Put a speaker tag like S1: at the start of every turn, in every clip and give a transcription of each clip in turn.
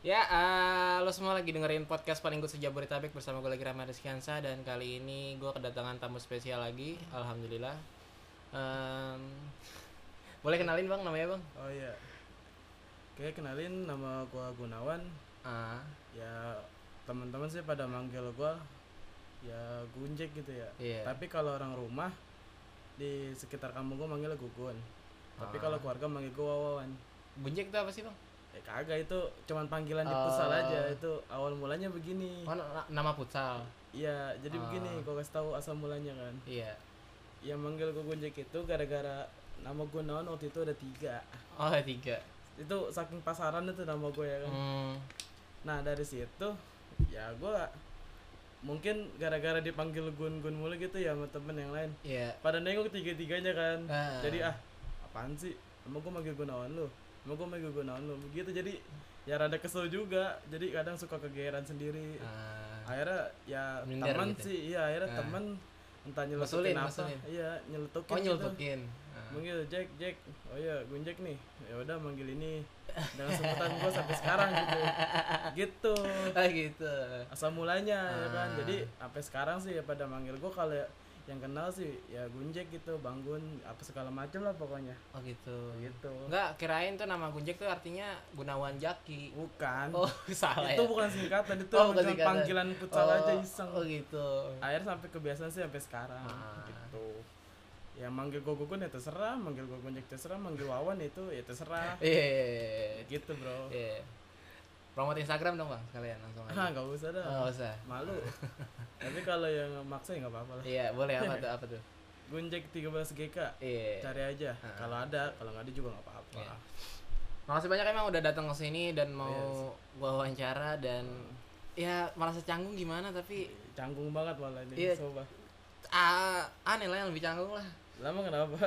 S1: eh, lo semua lagi dengerin podcast paling good sejabodetabek bersama gue lagi Rahmat Rizkiansa dan kali ini gue kedatangan tamu spesial lagi, alhamdulillah. Em, boleh kenalin bang namanya bang?
S2: Oh iya. Oke, kenalin nama gua Gunawan.
S1: Ah,
S2: Ya teman-teman sih pada manggil gua ya Gunjek gitu ya.
S1: Iya.
S2: Tapi kalau orang rumah di sekitar kampung gua manggil Gugun. Tapi
S1: Ah.
S2: kalau keluarga manggil gua Wawan.
S1: bunjek itu apa sih bang?
S2: Eh kagak itu cuman panggilan di
S1: Oh.
S2: futsal aja itu awal mulanya begini.
S1: Oh, Ah. na- nama futsal.
S2: Iya, jadi begini gua kasih tahu asal mulanya kan.
S1: Iya.
S2: Yang manggil gua Gunjek itu gara-gara nama Gunawan waktu itu ada tiga.
S1: Oh ada tiga.
S2: Itu saking pasaran itu nama gue ya kan.
S1: Hmm.
S2: Nah dari situ ya gua mungkin gara-gara dipanggil Gun Gun mulu gitu ya sama temen yang lain.
S1: Iya.
S2: Pada nengok tiga-tiganya kan.
S1: Ah.
S2: Jadi ah apaan sih? Emang gua manggil Gunawan lu? Emang gua manggil Gunawan lu? Begitu jadi ya rada kesel juga. Jadi kadang suka kegeeran sendiri.
S1: Ah.
S2: Akhirnya ya
S1: Minder
S2: teman
S1: gitu.
S2: sih, iya akhirnya
S1: Ah.
S2: teman entah nyelutukin
S1: Masulin,
S2: apa,
S1: masulin.
S2: iya nyelutukin
S1: Oh
S2: gitu.
S1: nyeltukin. Ah.
S2: Manggil Jack, Jack. Oh iya, gue Jack nih. Ya udah manggil ini dengan sebutan gue sampai sekarang gitu. Gitu.
S1: Ah gitu.
S2: Asal mulanya ya kan.
S1: Ah.
S2: Jadi sampai sekarang sih ya pada manggil gue kalau yang kenal sih ya Gunjek gitu, Bangun apa segala macam lah pokoknya.
S1: Oh gitu.
S2: Gitu.
S1: Enggak, kirain tuh nama Gunjek tuh artinya Gunawan Jaki.
S2: Bukan.
S1: Oh, salah
S2: itu
S1: ya.
S2: bukan singkatan, itu
S1: Oh, bukan
S2: cuma
S1: singkatan.
S2: panggilan futsal
S1: Oh,
S2: aja iseng.
S1: Oh gitu.
S2: Akhir sampai kebiasaan sih sampai sekarang
S1: Ah.
S2: gitu. Ya manggil gue Gugun ya terserah, manggil gue Gunjek terserah, manggil Wawan itu ya terserah.
S1: Iya.
S2: gitu, Bro.
S1: Iya. Promote Instagram dong, Bang, sekalian langsung
S2: Ah,
S1: aja.
S2: nggak usah dah.
S1: Oh, nggak usah.
S2: Malu. Tapi kalau yang maksa ya nggak apa-apa lah.
S1: Iya, boleh apa tuh? Apa tuh?
S2: Gunjek 13 GK.
S1: Iya.
S2: Cari aja.
S1: Ah.
S2: Kalau ada, kalau nggak ada juga nggak apa-apa.
S1: Iya. Makasih banyak emang udah datang ke sini dan mau
S2: Iya, Oh.
S1: gua wawancara dan ya merasa canggung gimana tapi
S2: Canggung banget malah ini,
S1: Iya.
S2: sobat.
S1: ah, aneh lah yang lebih canggung lah.
S2: Lama kenapa?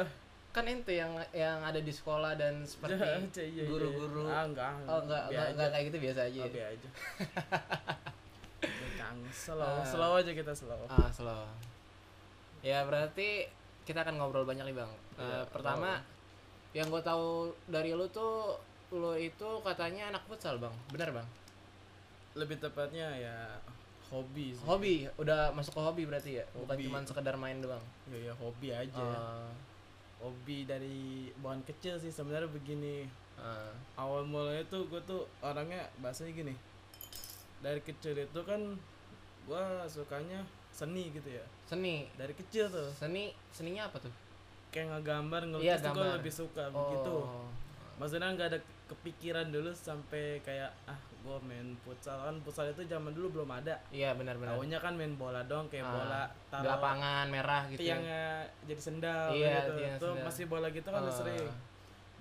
S1: Kan ente yang yang ada di sekolah dan
S2: Iya,
S1: seperti
S2: iya, iya.
S1: guru-guru.
S2: Ah, enggak.
S1: Oh enggak,
S2: Biar
S1: enggak,
S2: aja.
S1: enggak kayak gitu biasa aja.
S2: Oh,
S1: ya?
S2: biar aja. Ya, Canggung. Slow,
S1: Ah.
S2: slow aja kita slow.
S1: Ah, slow. Ya berarti kita akan ngobrol banyak nih bang. Eh,
S2: Iya,
S1: pertama, yang gue tahu dari lu tuh lu itu katanya anak futsal bang, benar bang?
S2: Lebih tepatnya ya hobi sih.
S1: Hobi, udah masuk ke hobi berarti ya, bukan
S2: Hobi.
S1: cuma sekedar main doang.
S2: Ya, ya hobi aja.
S1: Ah,
S2: Hobi dari bukan kecil sih sebenarnya begini.
S1: ah,
S2: awal mulanya tuh gue tuh orangnya bahasanya gini dari kecil itu kan gue sukanya seni gitu ya
S1: seni,
S2: dari kecil tuh
S1: seni, seninya apa tuh?
S2: kayak ngegambar
S1: Iya,
S2: ngelukis tuh gue
S1: gambar.
S2: lebih suka
S1: Oh,
S2: begitu maksudnya nggak ada kepikiran dulu sampai kayak ah gue main futsal kan futsal itu zaman dulu belum ada
S1: Iya benar-benar.
S2: Taunya kan main bola doang kayak
S1: Ah,
S2: bola
S1: Di lapangan merah gitu. ya.
S2: tiangnya jadi sendal
S1: Iya,
S2: gitu
S1: tiang
S2: tuh
S1: sendal.
S2: masih bola gitu kan udah
S1: Ah.
S2: sering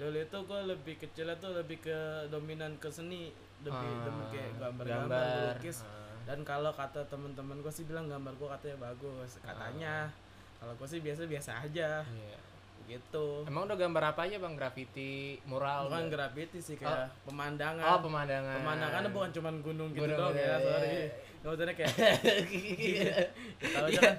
S2: dulu itu gue lebih kecilnya tuh lebih ke dominan ke seni lebih
S1: Ah,
S2: demi kayak
S1: gambar,
S2: gambar-gambar lukis
S1: ah.
S2: dan kalau kata teman-teman gue sih bilang gambar gue katanya bagus katanya
S1: Ah.
S2: kalau gue sih biasa-biasa aja
S1: Iya.
S2: gitu
S1: Emang udah gambar apa aja bang? Graffiti, mural,
S2: bukan
S1: gitu?
S2: kan graffiti sih kayak
S1: Oh
S2: pemandangan
S1: pemandangan.
S2: pemandangannya bukan cuman gunung gitu
S1: Gunung
S2: doang
S1: gitu,
S2: ya
S1: iya. Iya.
S2: sorry maksudnya kayak tahu aja kan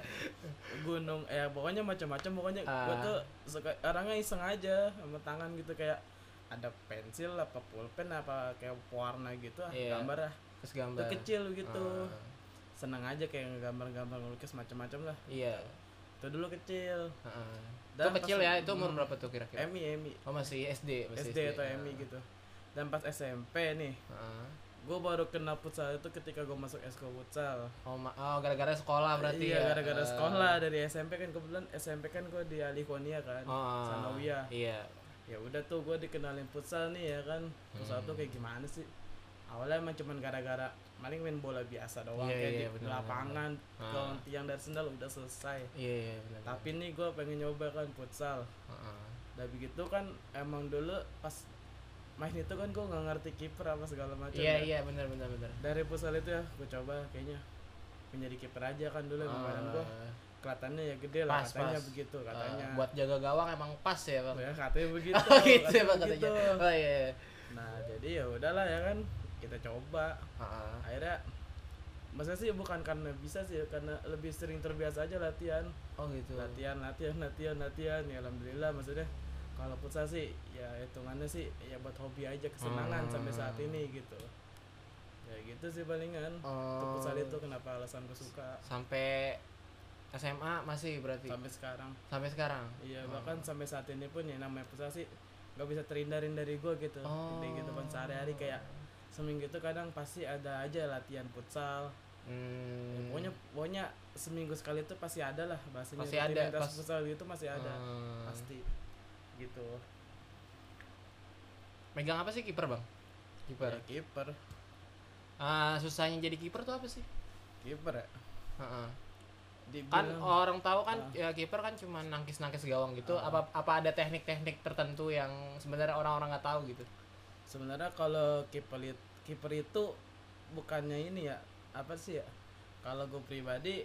S2: gunung eh pokoknya macam-macam pokoknya gua
S1: Ah.
S2: tuh suka orangnya iseng aja sama tangan gitu kayak ada pensil apa pulpen apa kayak warna gitu ah,
S1: Iya.
S2: gambar ah
S1: Terus
S2: itu
S1: gambar.
S2: kecil gitu
S1: Ah,
S2: seneng aja kayak gambar-gambar ngelukis macam-macam lah
S1: iya.
S2: itu dulu kecil
S1: Heeh.
S2: Dan
S1: Itu kecil
S2: pas-
S1: ya, itu umur
S2: hmm.
S1: berapa tuh kira-kira?
S2: Emi Emi
S1: Oh masih SD, masih
S2: SD atau
S1: ah.
S2: Emi gitu dan pas SMP nih
S1: Ah.
S2: gue baru kena futsal itu ketika gue masuk esko futsal
S1: Oh, ma- oh, gara-gara sekolah berarti
S2: iya
S1: ya.
S2: gara-gara
S1: Ah.
S2: sekolah dari SMP kan kebetulan SMP kan gue di Alihonia kan
S1: Ah,
S2: Sanawiyah.
S1: Iya.
S2: ya udah tuh gue dikenalin futsal nih ya kan futsal tuh
S1: Hmm.
S2: kayak gimana sih awalnya emang cuman gara-gara paling main bola biasa doang
S1: Iya,
S2: kayak
S1: iya,
S2: di
S1: bener,
S2: lapangan
S1: bener.
S2: kalau tiang dari sendal udah selesai
S1: Iya, iya benar.
S2: tapi nih gue pengen nyoba kan futsal
S1: Heeh.
S2: udah begitu kan emang dulu pas main itu kan gue nggak ngerti kiper apa segala macam
S1: Iya,
S2: ya.
S1: iya benar benar benar.
S2: dari futsal itu ya gue coba kayaknya menjadi kiper aja kan dulu emang badan gue
S1: Ah,
S2: kelihatannya ya gede lah
S1: Pas,
S2: katanya
S1: pas.
S2: begitu
S1: ah,
S2: katanya
S1: buat jaga gawang emang pas ya, Bang.
S2: ya katanya begitu
S1: Oh gitu ya,
S2: katanya
S1: Bang katanya.
S2: begitu.
S1: Oh iya. iya.
S2: Nah, jadi ya udahlah ya kan kita coba.
S1: Ah,
S2: Akhirnya maksudnya sih bukan karena bisa sih karena lebih sering terbiasa aja latihan.
S1: Oh gitu.
S2: Latihan, latihan, latihan, latihan. Ya alhamdulillah maksudnya kalau futsal sih ya hitungannya sih ya buat hobi aja kesenangan
S1: Hmm.
S2: sampai saat ini gitu. ya gitu sih palingan
S1: Oh.
S2: untuk futsal itu kenapa alasan gue suka
S1: sampai SMA masih berarti
S2: sampai sekarang
S1: sampai sekarang
S2: iya bahkan sampai saat ini pun ya namanya futsal sih nggak bisa terhindarin dari gue gitu
S1: Oh.
S2: Jadi gitu kan sehari-hari kayak seminggu itu kadang pasti ada aja latihan futsal Ya,
S1: Hmm.
S2: pokoknya pokoknya seminggu sekali itu pasti ada lah bahasanya
S1: Pasti ada,
S2: rutinitas
S1: pas-
S2: futsal itu masih ada
S1: Hmm.
S2: pasti gitu
S1: megang apa sih kiper bang kiper
S2: ya, kiper
S1: Ah, susahnya jadi kiper tuh apa sih
S2: kiper ya
S1: Heeh. kan
S2: dibilang
S1: orang tahu kan ya kiper kan cuma nangkis nangkis gawang gitu apa apa ada teknik teknik tertentu yang sebenarnya orang-orang nggak tahu gitu
S2: sebenarnya kalau kiper it- kiper itu bukannya ini ya apa sih ya kalau gue pribadi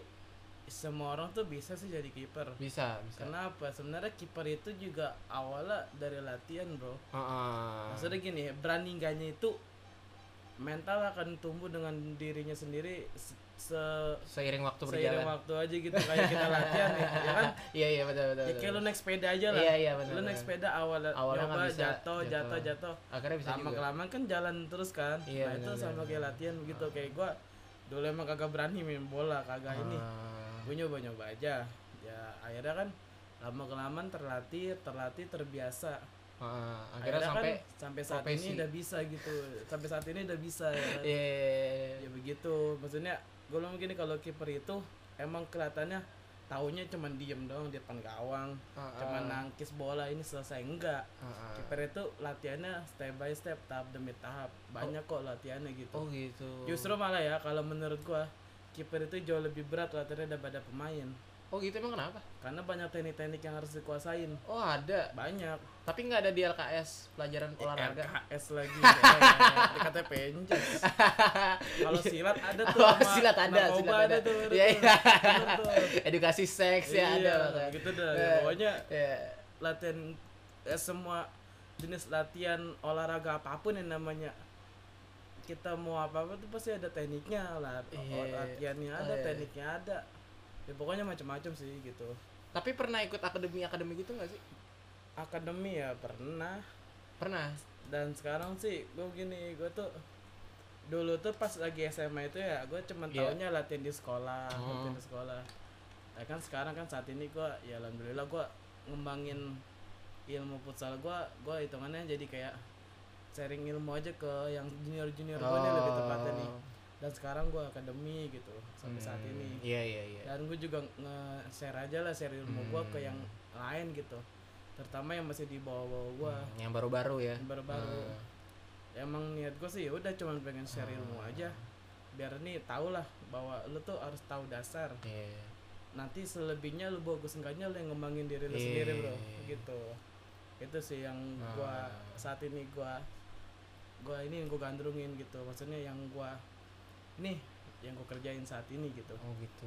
S2: semua orang tuh bisa sih jadi kiper
S1: bisa bisa
S2: kenapa sebenarnya kiper itu juga awalnya dari latihan bro
S1: Heeh.
S2: maksudnya gini berani enggaknya itu mental akan tumbuh dengan dirinya sendiri se, se-
S1: seiring waktu
S2: seiring
S1: berjalan
S2: waktu aja gitu kayak kita latihan nih ya kan
S1: iya iya betul betul,
S2: ya
S1: betul.
S2: kayak lu naik sepeda aja lah
S1: Iya, iya, benar,
S2: lu naik
S1: benar.
S2: sepeda awal
S1: Awalnya
S2: nyoba
S1: nggak bisa,
S2: jatuh jatuh
S1: jatuh.
S2: jatuh
S1: akhirnya bisa
S2: lama
S1: juga
S2: kelamaan kan jalan terus kan
S1: Iya,
S2: nah itu
S1: benar,
S2: sama
S1: benar,
S2: kayak latihan begitu
S1: Ah.
S2: kayak gua dulu emang kagak berani main bola kagak ini
S1: Ah.
S2: gue nyoba nyoba aja ya akhirnya kan lama kelamaan terlatih terlatih terbiasa
S1: Heeh. akhirnya sampai
S2: kan sampai saat
S1: profesi.
S2: ini udah bisa gitu sampai saat ini udah bisa ya kan?
S1: iya iya, iya, iya.
S2: ya begitu maksudnya gue bilang gini kalau kiper itu emang kelihatannya taunya cuman diem doang di depan gawang
S1: Heeh.
S2: cuman nangkis bola ini selesai enggak
S1: Heeh.
S2: kiper itu latihannya step by step tahap demi tahap banyak kok latihannya gitu
S1: oh gitu
S2: justru malah ya kalau menurut gua kiper itu jauh lebih berat latihannya daripada pemain
S1: oh gitu emang kenapa
S2: karena banyak teknik-teknik yang harus dikuasain
S1: oh ada
S2: banyak
S1: tapi nggak ada di LKS pelajaran
S2: Eh,
S1: olahraga
S2: RKS lagi kayak dikatanya penjus kalau silat ada tuh
S1: Oh,
S2: sama
S1: silat ada,
S2: narkoba
S1: silat ada.
S2: tuh,
S1: Iya,
S2: tuh.
S1: iya.
S2: Bener tuh.
S1: edukasi seks ya ada
S2: Iya,
S1: makanya.
S2: gitu dah
S1: Eh.
S2: pokoknya
S1: Iya.
S2: latihan eh, semua jenis latihan olahraga apapun yang namanya kita mau apa apa tuh pasti ada tekniknya lah
S1: Iya.
S2: latihannya
S1: Oh,
S2: ada
S1: iya.
S2: tekniknya ada ya pokoknya macam-macam sih gitu
S1: tapi pernah ikut akademi akademi gitu nggak sih
S2: akademi ya pernah
S1: pernah
S2: dan sekarang sih gue gini gue tuh dulu tuh pas lagi SMA itu ya gue cuman
S1: Iya.
S2: taunya latihan di sekolah
S1: Oh.
S2: latihan di sekolah ya kan sekarang kan saat ini gue ya alhamdulillah gue ngembangin ilmu futsal gue gue hitungannya jadi kayak sharing ilmu aja ke yang junior junior gue nih lebih tepatnya
S1: Oh.
S2: nih dan sekarang gue akademi gitu sampai saat
S1: Hmm,
S2: ini
S1: iya iya iya
S2: dan gue juga nge-share aja lah share ilmu gue
S1: Hmm.
S2: ke yang lain gitu terutama yang masih di bawah-bawah gue
S1: Hmm, yang baru-baru ya
S2: yang baru-baru
S1: Hmm.
S2: emang niat gue sih ya udah cuman pengen share ilmu
S1: Ah.
S2: aja biar nih tau lah bahwa lu tuh harus tahu dasar
S1: Iya.
S2: nanti selebihnya lu bagus enggaknya lu yang ngembangin diri lu
S1: Iya. Ah.
S2: sendiri bro gitu itu sih yang gua saat ini gua gua ini yang gua gandrungin gitu maksudnya yang gua nih yang gua kerjain saat ini gitu
S1: oh gitu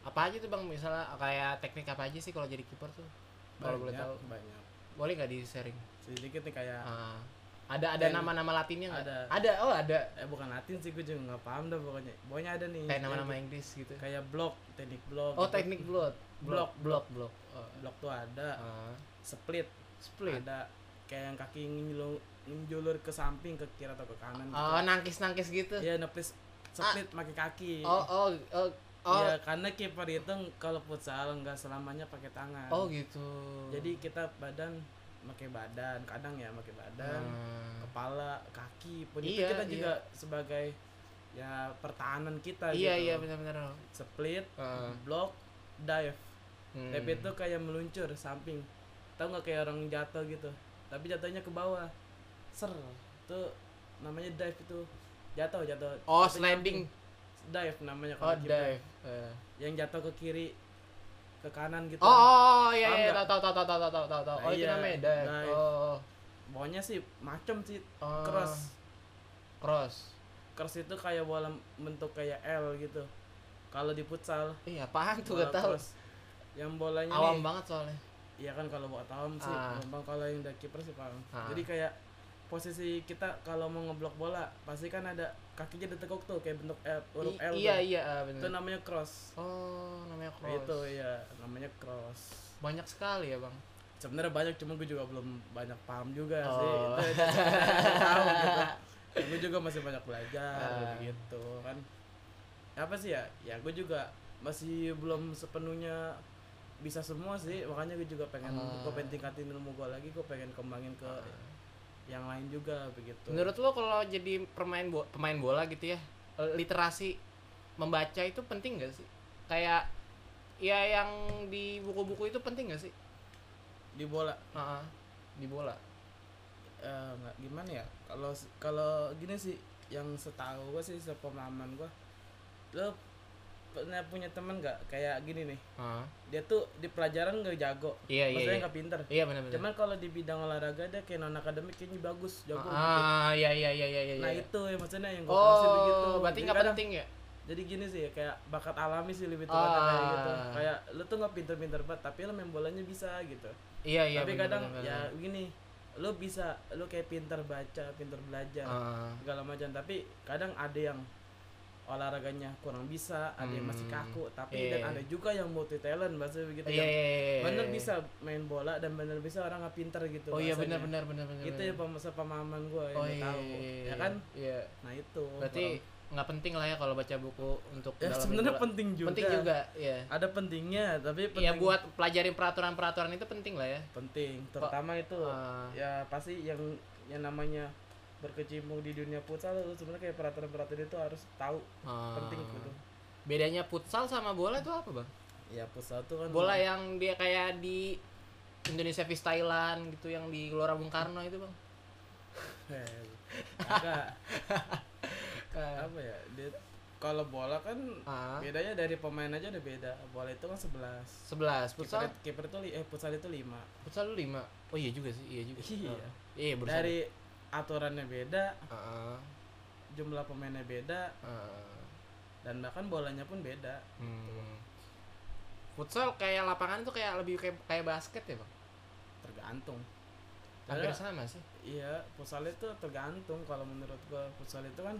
S1: apa aja tuh bang misalnya kayak teknik apa aja sih kalau jadi kiper tuh kalau boleh
S2: Banyak,
S1: tahu
S2: banyak
S1: boleh nggak di sharing
S2: sedikit nih kayak
S1: Ah. ada ada
S2: Teknik.
S1: nama-nama latinnya nggak
S2: Ada.
S1: ada oh ada
S2: eh bukan Latin sih gua juga nggak paham dah pokoknya pokoknya ada nih
S1: kayak nama-nama
S2: yang-
S1: Inggris gitu
S2: kayak blok teknik blok
S1: oh
S2: gitu.
S1: teknik blok blok blok blok Oh.
S2: blok tuh ada
S1: Ah.
S2: split
S1: split
S2: ada kayak yang kaki ngejulur, ngejulur ke samping ke kiri atau ke kanan
S1: oh nangkis-nangkis gitu
S2: ya nepis split pakai kaki
S1: oh oh oh oh
S2: ya karena kiper itu kalau futsal nggak selamanya pakai tangan
S1: oh gitu
S2: jadi kita badan pakai badan kadang ya pakai badan
S1: Ah.
S2: kepala kaki pun itu
S1: Iya,
S2: kita
S1: iya.
S2: juga sebagai ya pertahanan kita
S1: iya
S2: gitu
S1: iya benar-benar
S2: split
S1: Ah.
S2: block dive
S1: Hmm.
S2: Tapi itu kayak meluncur samping. Tahu nggak kayak orang jatuh gitu. Tapi jatuhnya ke bawah. Ser. Itu namanya dive itu. Jatuh, jatuh.
S1: oh
S2: Tapi
S1: sliding
S2: nyamping. Dive namanya
S1: oh
S2: kalau kiper.
S1: dive Eh.
S2: Yang jatuh ke kiri ke kanan
S1: Oh,
S2: gitu.
S1: oh, oh,
S2: Paham
S1: iya, iya,
S2: nggak?
S1: tau, tau, tau, tau, tau, tau, tau, tau.
S2: Nah,
S1: Oh, itu
S2: iya,
S1: namanya dive.
S2: dive.
S1: Oh,
S2: Pokoknya sih macem sih
S1: oh.
S2: cross.
S1: Cross.
S2: Cross itu kayak bola bentuk kayak L gitu. Kalau di futsal
S1: Iya, apaan tuh
S2: bola
S1: gak tau.
S2: cross. Yang bolanya
S1: Awam
S2: nih,
S1: banget soalnya.
S2: Iya kan kalau buat tahun sih,
S1: Ah.
S2: gampang kalau yang dari kiper sih paham.
S1: Ah.
S2: Jadi kayak posisi kita kalau mau ngeblok bola pasti kan ada kakinya ditekuk tuh kayak bentuk L,
S1: I-
S2: huruf L.
S1: iya,
S2: tuh.
S1: iya, ah,
S2: Itu
S1: bener.
S2: namanya cross.
S1: Oh, namanya cross.
S2: Itu ya namanya cross.
S1: Banyak sekali ya, Bang.
S2: Sebenarnya banyak cuma gue juga belum banyak paham juga sih.
S1: Oh.
S2: Itu, itu sebenarnya nggak tahu gitu. ya, gue juga masih banyak belajar
S1: Ah.
S2: gitu kan apa sih ya ya gue juga masih belum sepenuhnya bisa semua sih makanya gue juga pengen
S1: Ah.
S2: gue pengen tingkatin ilmu gue lagi gue pengen kembangin ke yang lain juga begitu
S1: Menurut lo kalau jadi pemain bo- pemain bola gitu ya, eh, literasi membaca itu penting gak sih? Kayak ya yang di buku-buku itu penting gak sih?
S2: di bola
S1: Heeh, di bola.
S2: eh, nggak gimana ya kalau kalau gini sih yang setahu gue sih sepemahaman gue lo pernah punya temen nggak kayak gini nih
S1: Heeh.
S2: dia tuh di pelajaran nggak jago
S1: Iya, iya,
S2: maksudnya
S1: iya.
S2: nggak pinter
S1: Iya benar-benar.
S2: cuman kalau di bidang olahraga dia kayak non akademik kayaknya bagus jago gitu.
S1: ah, iya iya iya iya iya.
S2: nah
S1: iya.
S2: itu ya maksudnya yang gue kasih begitu
S1: Oh, berarti
S2: Jadi
S1: nggak
S2: kadang-
S1: penting ya?
S2: jadi gini sih kayak bakat alami sih
S1: Ah.
S2: lebih tepatnya kayak gitu kayak lu tuh nggak pinter-pinter banget tapi lu main bolanya bisa gitu
S1: Iya iya.
S2: tapi
S1: benar,
S2: kadang
S1: benar,
S2: ya
S1: benar.
S2: gini lu bisa lu kayak pinter baca pinter belajar
S1: Ah.
S2: segala macam tapi kadang ada yang olahraganya kurang bisa ada yang masih
S1: Hmm.
S2: kaku tapi
S1: Iya,
S2: dan
S1: iya.
S2: ada juga yang multi talent bahasa begitu
S1: Iya
S2: yang
S1: iya iya.
S2: bener
S1: iya.
S2: bisa main bola dan bener bisa orang nggak pinter gitu
S1: Oh iya
S2: bahasanya.
S1: benar-benar benar-benar.
S2: itu ya pemasa pemahaman gue yang
S1: Oh
S2: gua
S1: iya.
S2: tahu
S1: iya,
S2: ya kan
S1: Iya.
S2: nah itu
S1: Berarti nggak penting lah ya kalau baca buku untuk
S2: ya
S1: dalamin
S2: sebenarnya
S1: bola.
S2: penting juga
S1: penting juga ya
S2: ada pentingnya tapi penting
S1: ya buat pelajarin peraturan-peraturan itu penting lah ya
S2: penting terutama itu
S1: Ah.
S2: ya pasti yang yang namanya berkecimpung di dunia futsal lu sebenarnya kayak peraturan-peraturan itu harus tahu
S1: Ah.
S2: penting gitu
S1: bedanya futsal sama bola itu apa bang
S2: ya futsal tuh kan
S1: bola yang dia kayak di Indonesia vs Thailand gitu yang di Gelora Bung Karno itu bang
S2: Eh, agak
S1: Eh,
S2: apa ya dia kalau bola kan
S1: ah
S2: bedanya dari pemain aja udah beda bola itu kan 11
S1: sebelas
S2: futsal
S1: futsal
S2: kiper itu li- eh futsal itu 5
S1: futsal lu lima oh iya juga sih iya juga
S2: Iya.
S1: Ah. iya bersama
S2: dari aturannya beda
S1: Ah,
S2: jumlah pemainnya beda
S1: ah.
S2: dan bahkan bolanya pun beda
S1: Hmm. futsal kayak lapangan tuh kayak lebih kayak kayak basket ya bang
S2: tergantung
S1: hampir sama
S2: Karena-
S1: sih
S2: iya futsal itu tergantung kalau menurut gua futsal itu kan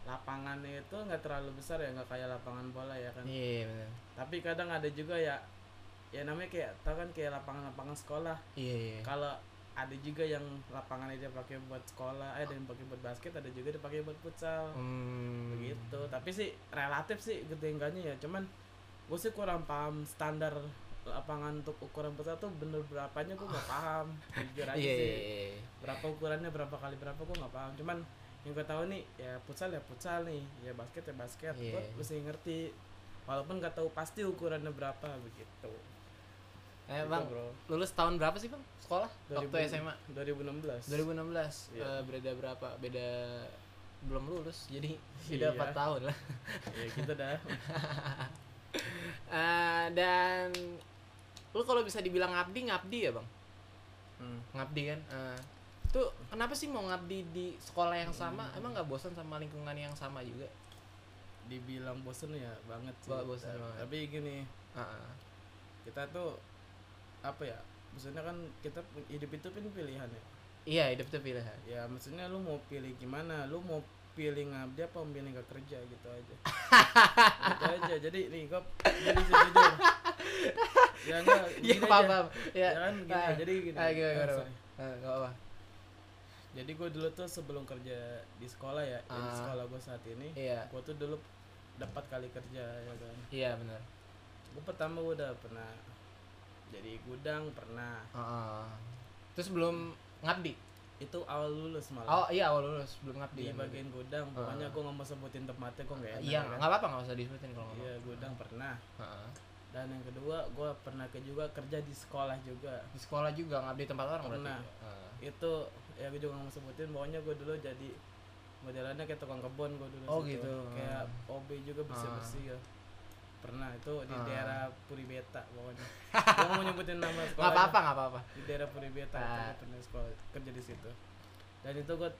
S2: lapangannya itu nggak terlalu besar ya nggak kayak lapangan bola ya kan
S1: iya benar
S2: tapi kadang ada juga ya ya namanya kayak tau kan kayak lapangan-lapangan sekolah
S1: iya iya
S2: kalau ada juga yang lapangan dia pakai buat sekolah eh ada yang pakai buat basket ada juga dipakai buat futsal
S1: Hmm.
S2: begitu tapi sih relatif sih gede enggaknya ya cuman gue sih kurang paham standar lapangan untuk ukuran futsal tuh bener berapanya gue nggak paham jujur aja
S1: Iya,
S2: sih
S1: iya, iya.
S2: berapa ukurannya berapa kali berapa gue nggak paham cuman yang gue tahu nih ya futsal ya futsal nih ya basket ya basket gue
S1: Iya.
S2: mesti ngerti walaupun nggak tahu pasti ukurannya berapa begitu
S1: Eh, Bang,
S2: Gitu, bro
S1: lulus tahun berapa sih, Bang? Sekolah? Waktu
S2: 2000
S1: SMA.
S2: 2016
S1: 2016.
S2: Iya.
S1: Eh, beda berapa? Beda belum lulus. Jadi
S2: Iya.
S1: beda 4 tahun lah.
S2: ya gitu dah
S1: Eh, dan lu kalau bisa dibilang ngabdi, ngabdi ya, Bang?
S2: Hmm.
S1: Ngabdi kan? Eh, itu kenapa sih mau ngabdi di sekolah yang sama? Emang nggak bosan sama lingkungan yang sama juga?
S2: dibilang bosen ya banget sih
S1: Ba- bosen
S2: Ta-
S1: banget.
S2: tapi gini
S1: Heeh.
S2: kita tuh apa ya maksudnya kan kita pu- hidup itu kan pilihan ya
S1: Iya, hidup itu pilihan.
S2: ya maksudnya lu mau pilih gimana lu mau pilih ngabdi apa pilih gak kerja gitu aja gitu aja jadi nih gue jadi jujur ya enggak
S1: Iya,
S2: gini
S1: paham,
S2: aja.
S1: paham. Ya.
S2: ya kan gini
S1: Ah.
S2: jadi gini
S1: Ah, gimana,
S2: eh,
S1: gimana,
S2: sorry.
S1: Bang? Eh, nggak apa-apa.
S2: jadi gue dulu tuh sebelum kerja di sekolah ya ya di
S1: Ah.
S2: sekolah gue saat ini
S1: Iya.
S2: gue tuh dulu dapat kali kerja ya kan
S1: Iya, benar.
S2: gue pertama gua udah pernah jadi gudang pernah
S1: Heeh. Terus belum ngabdi.
S2: itu awal lulus
S1: Oh
S2: malah
S1: iya awal lulus belum ngabdi.
S2: di
S1: kan
S2: bagian gudang pokoknya gua nggak mau sebutin tempatnya kok nggak
S1: berarti.
S2: enak
S1: Iya
S2: kan?
S1: nggak apa-apa nggak usah disebutin kalau nggak
S2: iya gudang pernah
S1: apa-apa. Heeh.
S2: dan yang kedua gua pernah ke juga kerja di sekolah juga
S1: Di sekolah juga ngabdi tempat orang
S2: Pernah.
S1: berarti. Heeh.
S2: itu ya gue juga nggak mau sebutin pokoknya gue dulu jadi modelannya kayak tukang kebun gue dulu
S1: Oh,
S2: situ.
S1: gitu.
S2: kayak OB juga bersih
S1: Ah.
S2: bersih ya pernah itu di
S1: Ah.
S2: daerah Puribeta pokoknya gue mau nyebutin nama sekolah
S1: Nggak apa-apa nggak apa-apa.
S2: di daerah Puribeta
S1: Ah.
S2: itu gua pernah sekolah kerja di situ dan itu gue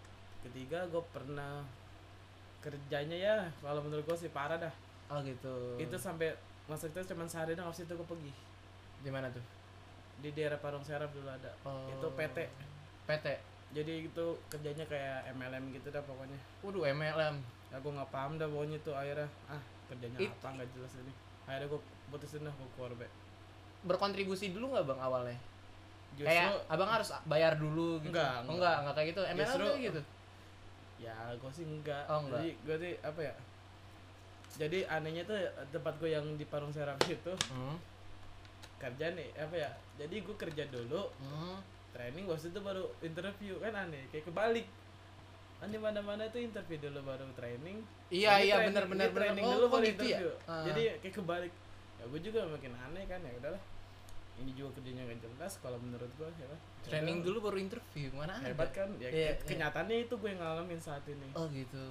S2: ketiga gue pernah kerjanya ya kalau menurut gue sih parah dah
S1: Oh gitu.
S2: itu sampai masa itu cuma sehari dong abis itu gue pergi
S1: di mana tuh?
S2: di daerah Parung Serap dulu ada
S1: Oh.
S2: itu PT
S1: PT.
S2: jadi itu kerjanya kayak MLM gitu dah pokoknya
S1: Waduh MLM.
S2: aku nggak paham dah pokoknya itu akhirnya ah kerjanya
S1: It-
S2: apa nggak jelas ini akhirnya gue putusin dah gue keluar Be.
S1: Berkontribusi dulu nggak bang awalnya?
S2: justru
S1: kayak abang harus bayar dulu gitu.
S2: Nggak,
S1: Oh,
S2: nggak.
S1: nggak nggak kayak gitu. MLM
S2: Justru-
S1: tuh gitu.
S2: ya gue sih enggak
S1: Oh, enggak.
S2: jadi gue sih apa ya jadi anehnya tuh tempat gue yang di Parung Serap itu
S1: Hmm.
S2: kerja nih apa ya jadi gue kerja dulu
S1: Hmm.
S2: training waktu itu baru interview kan aneh kayak kebalik kan di mana mana itu interview dulu baru training
S1: Iya
S2: Jadi kan.
S1: iya
S2: training-
S1: benar benar
S2: jadi
S1: benar.
S2: training dulu
S1: Oh, kok
S2: baru
S1: gitu ya?
S2: interview.
S1: Ah.
S2: jadi kayak kebalik ya gue juga makin aneh kan ya udahlah ini juga kerjanya gak jelas kalau menurut gue ya kan. Ya
S1: training
S2: udah,
S1: dulu baru interview. Mana ada?
S2: hebat kan ya
S1: Iya,
S2: ke-
S1: iya.
S2: kenyataannya itu gue yang ngalamin saat ini
S1: Oh gitu.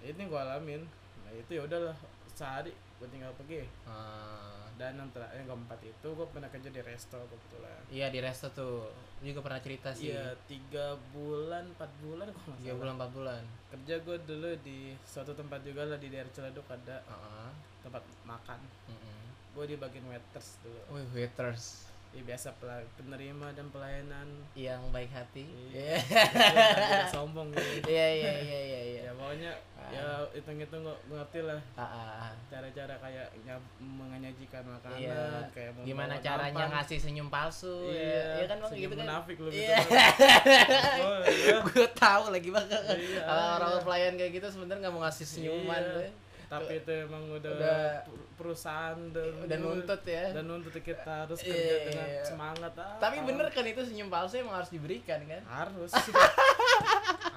S2: ini gue alamin nah itu ya udahlah sehari gue tinggal pergi
S1: Ah.
S2: dan yang terakhir yang keempat itu gue pernah kerja di resto kebetulan
S1: Iya di resto tuh juga pernah cerita sih.
S2: iya tiga bulan empat bulan kok
S1: Tiga
S2: nggak salah.
S1: Iya, bulan empat bulan.
S2: kerja gue dulu di suatu tempat juga lah di daerah Ciledug ada
S1: Ah.
S2: tempat makan
S1: Mm-mm.
S2: gue di bagian waiters dulu
S1: Wih waiters
S2: ya biasa pela- penerima dan pelayanan
S1: yang baik hati. Iya
S2: Iya. tidak sombong gitu
S1: iya iya iya iya. iya.
S2: ya pokoknya ya hitung-hitung gue ngerti lah
S1: Ah, ah, ah.
S2: cara-cara kayak nyab- menyajikan makanan
S1: Iya.
S2: kayak membawa
S1: Gimana caranya
S2: nampan.
S1: ngasih senyum palsu? ya.
S2: iya
S1: Iya kan bang
S2: senyum
S1: gitu kan.
S2: munafik lu
S1: Iya.
S2: gitu Oh, iya.
S1: gue tahu lagi bang
S2: Iya,
S1: orang-orang
S2: iya.
S1: pelayan kayak gitu sebenarnya nggak mau ngasih senyuman ya.
S2: Iya.
S1: tuh.
S2: tapi itu emang udah,
S1: Udah-
S2: per- perusahaan dan,
S1: udah nuntut ya
S2: dan nuntut kita harus
S1: Iya,
S2: kerja dengan
S1: iya.
S2: semangat ah,
S1: tapi
S2: ah.
S1: bener kan itu senyum palsu emang harus diberikan kan
S2: harus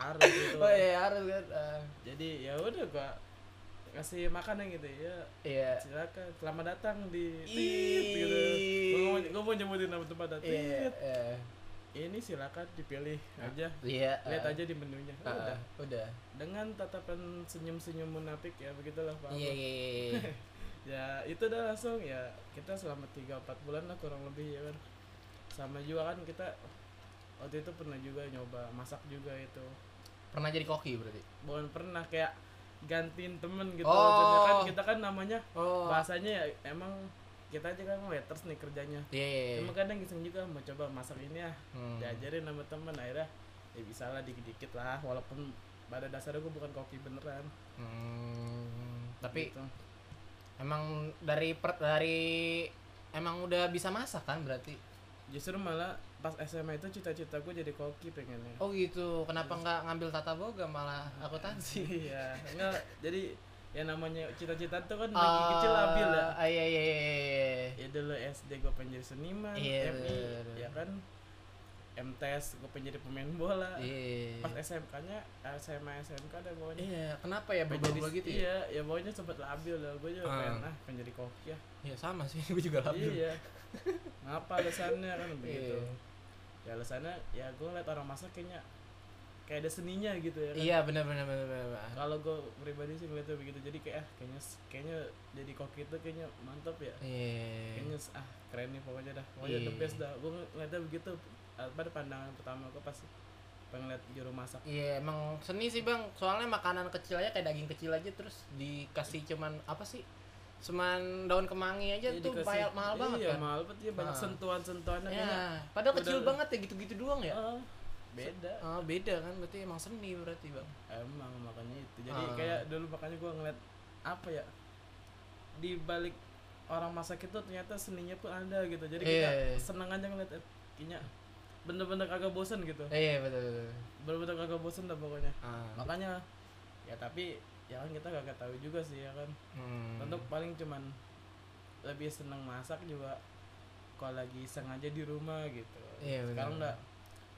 S2: harus gitu
S1: oh iya harus kan Eh,
S2: jadi ya udah gua kasih makanan gitu ya
S1: iya
S2: silakan selamat datang di
S1: Ih.
S2: tit gitu Gua mau gua mau nyebutin nama tempat tadi
S1: iya eh,
S2: ini silakan dipilih aja
S1: iya eh,
S2: lihat aja di menunya
S1: eh, eh,
S2: udah
S1: udah
S2: dengan tatapan senyum senyum munafik ya begitulah pak
S1: iya iya iya, iya.
S2: ya itu udah langsung ya kita selama 3-4 bulan lah kurang lebih ya kan sama juga kan kita waktu itu pernah juga nyoba masak juga itu
S1: pernah jadi koki berarti
S2: bukan pernah kayak gantiin temen gitu
S1: Oh.
S2: Maksudnya kan kita kan namanya
S1: oh
S2: bahasanya ya emang kita aja kan waiters nih kerjanya
S1: iya iya iya.
S2: cuma kan kadang iseng juga mau coba masak ini ya
S1: Hmm.
S2: diajarin sama temen akhirnya ya bisa lah dikit-dikit lah walaupun pada dasarnya gue bukan koki beneran
S1: Hmm, tapi
S2: gitu.
S1: emang dari per, dari emang udah bisa masak kan berarti
S2: justru malah pas SMA itu cita-cita gue jadi koki pengennya
S1: oh gitu kenapa nggak ngambil tata boga malah akuntansi
S2: iya enggak jadi yang namanya cita-cita tuh kan lagi kecil labil ya
S1: Ah, iya iya iya, iya.
S2: ya dulu SD gue pengen jadi seniman
S1: Iya,
S2: MI
S1: bener, bener.
S2: ya kan MTS gue pengen jadi pemain bola
S1: Iya.
S2: pas SMK nya SMA SMK ada pokoknya
S1: Iya, kenapa ya berubah gitu ya?
S2: iya ya pokoknya sempet labil lah gue juga
S1: Ah.
S2: pengen ah pengen jadi koki ya
S1: Iya, sama sih, gue juga labil.
S2: iya ngapa alasannya kan begitu
S1: Iya.
S2: ya alasannya ya gue ngeliat orang masak kayaknya kayak ada seninya gitu ya kan
S1: Iya, benar benar benar benar. benar.
S2: kalau gue pribadi sih ngeliatnya begitu jadi kayak ah, kayaknya kayaknya jadi koki itu kayaknya mantap ya
S1: Iya.
S2: kayaknya ah keren nih pokoknya dah pokoknya the
S1: Iya.
S2: best dah gue ngeliatnya begitu pada pandangan pertama gue pas pengen lihat juru masak
S1: Iya, emang seni sih, Bang. Soalnya makanan kecil aja kayak daging kecil aja terus dikasih cuman apa sih? Cuman daun kemangi aja
S2: Iya,
S1: tuh
S2: dikasih-
S1: bayar mahal banget
S2: iya,
S1: kan.
S2: mahal banget ya banyak
S1: Ah.
S2: sentuhan-sentuhannya
S1: ya,
S2: kayaknya
S1: padahal
S2: udah
S1: kecil
S2: lu-
S1: banget ya gitu-gitu doang ya.
S2: ah, beda
S1: Ah, beda kan berarti emang seni berarti, Bang.
S2: emang makanya itu jadi
S1: Ah.
S2: kayak dulu makanya gue ngeliat apa ya di balik orang masak itu ternyata seninya pun ada gitu jadi kita
S1: Iya.
S2: seneng aja ngeliat eh, kayaknya bener-bener kagak bosen gitu
S1: Iya, betul betul.
S2: bener-bener kagak bosen dah pokoknya
S1: Ah.
S2: makanya ya tapi ya kan kita kagak tahu juga sih ya kan
S1: Hmm.
S2: untuk paling cuman lebih seneng masak juga kalau lagi sengaja di rumah gitu
S1: Iya, benar.
S2: sekarang udah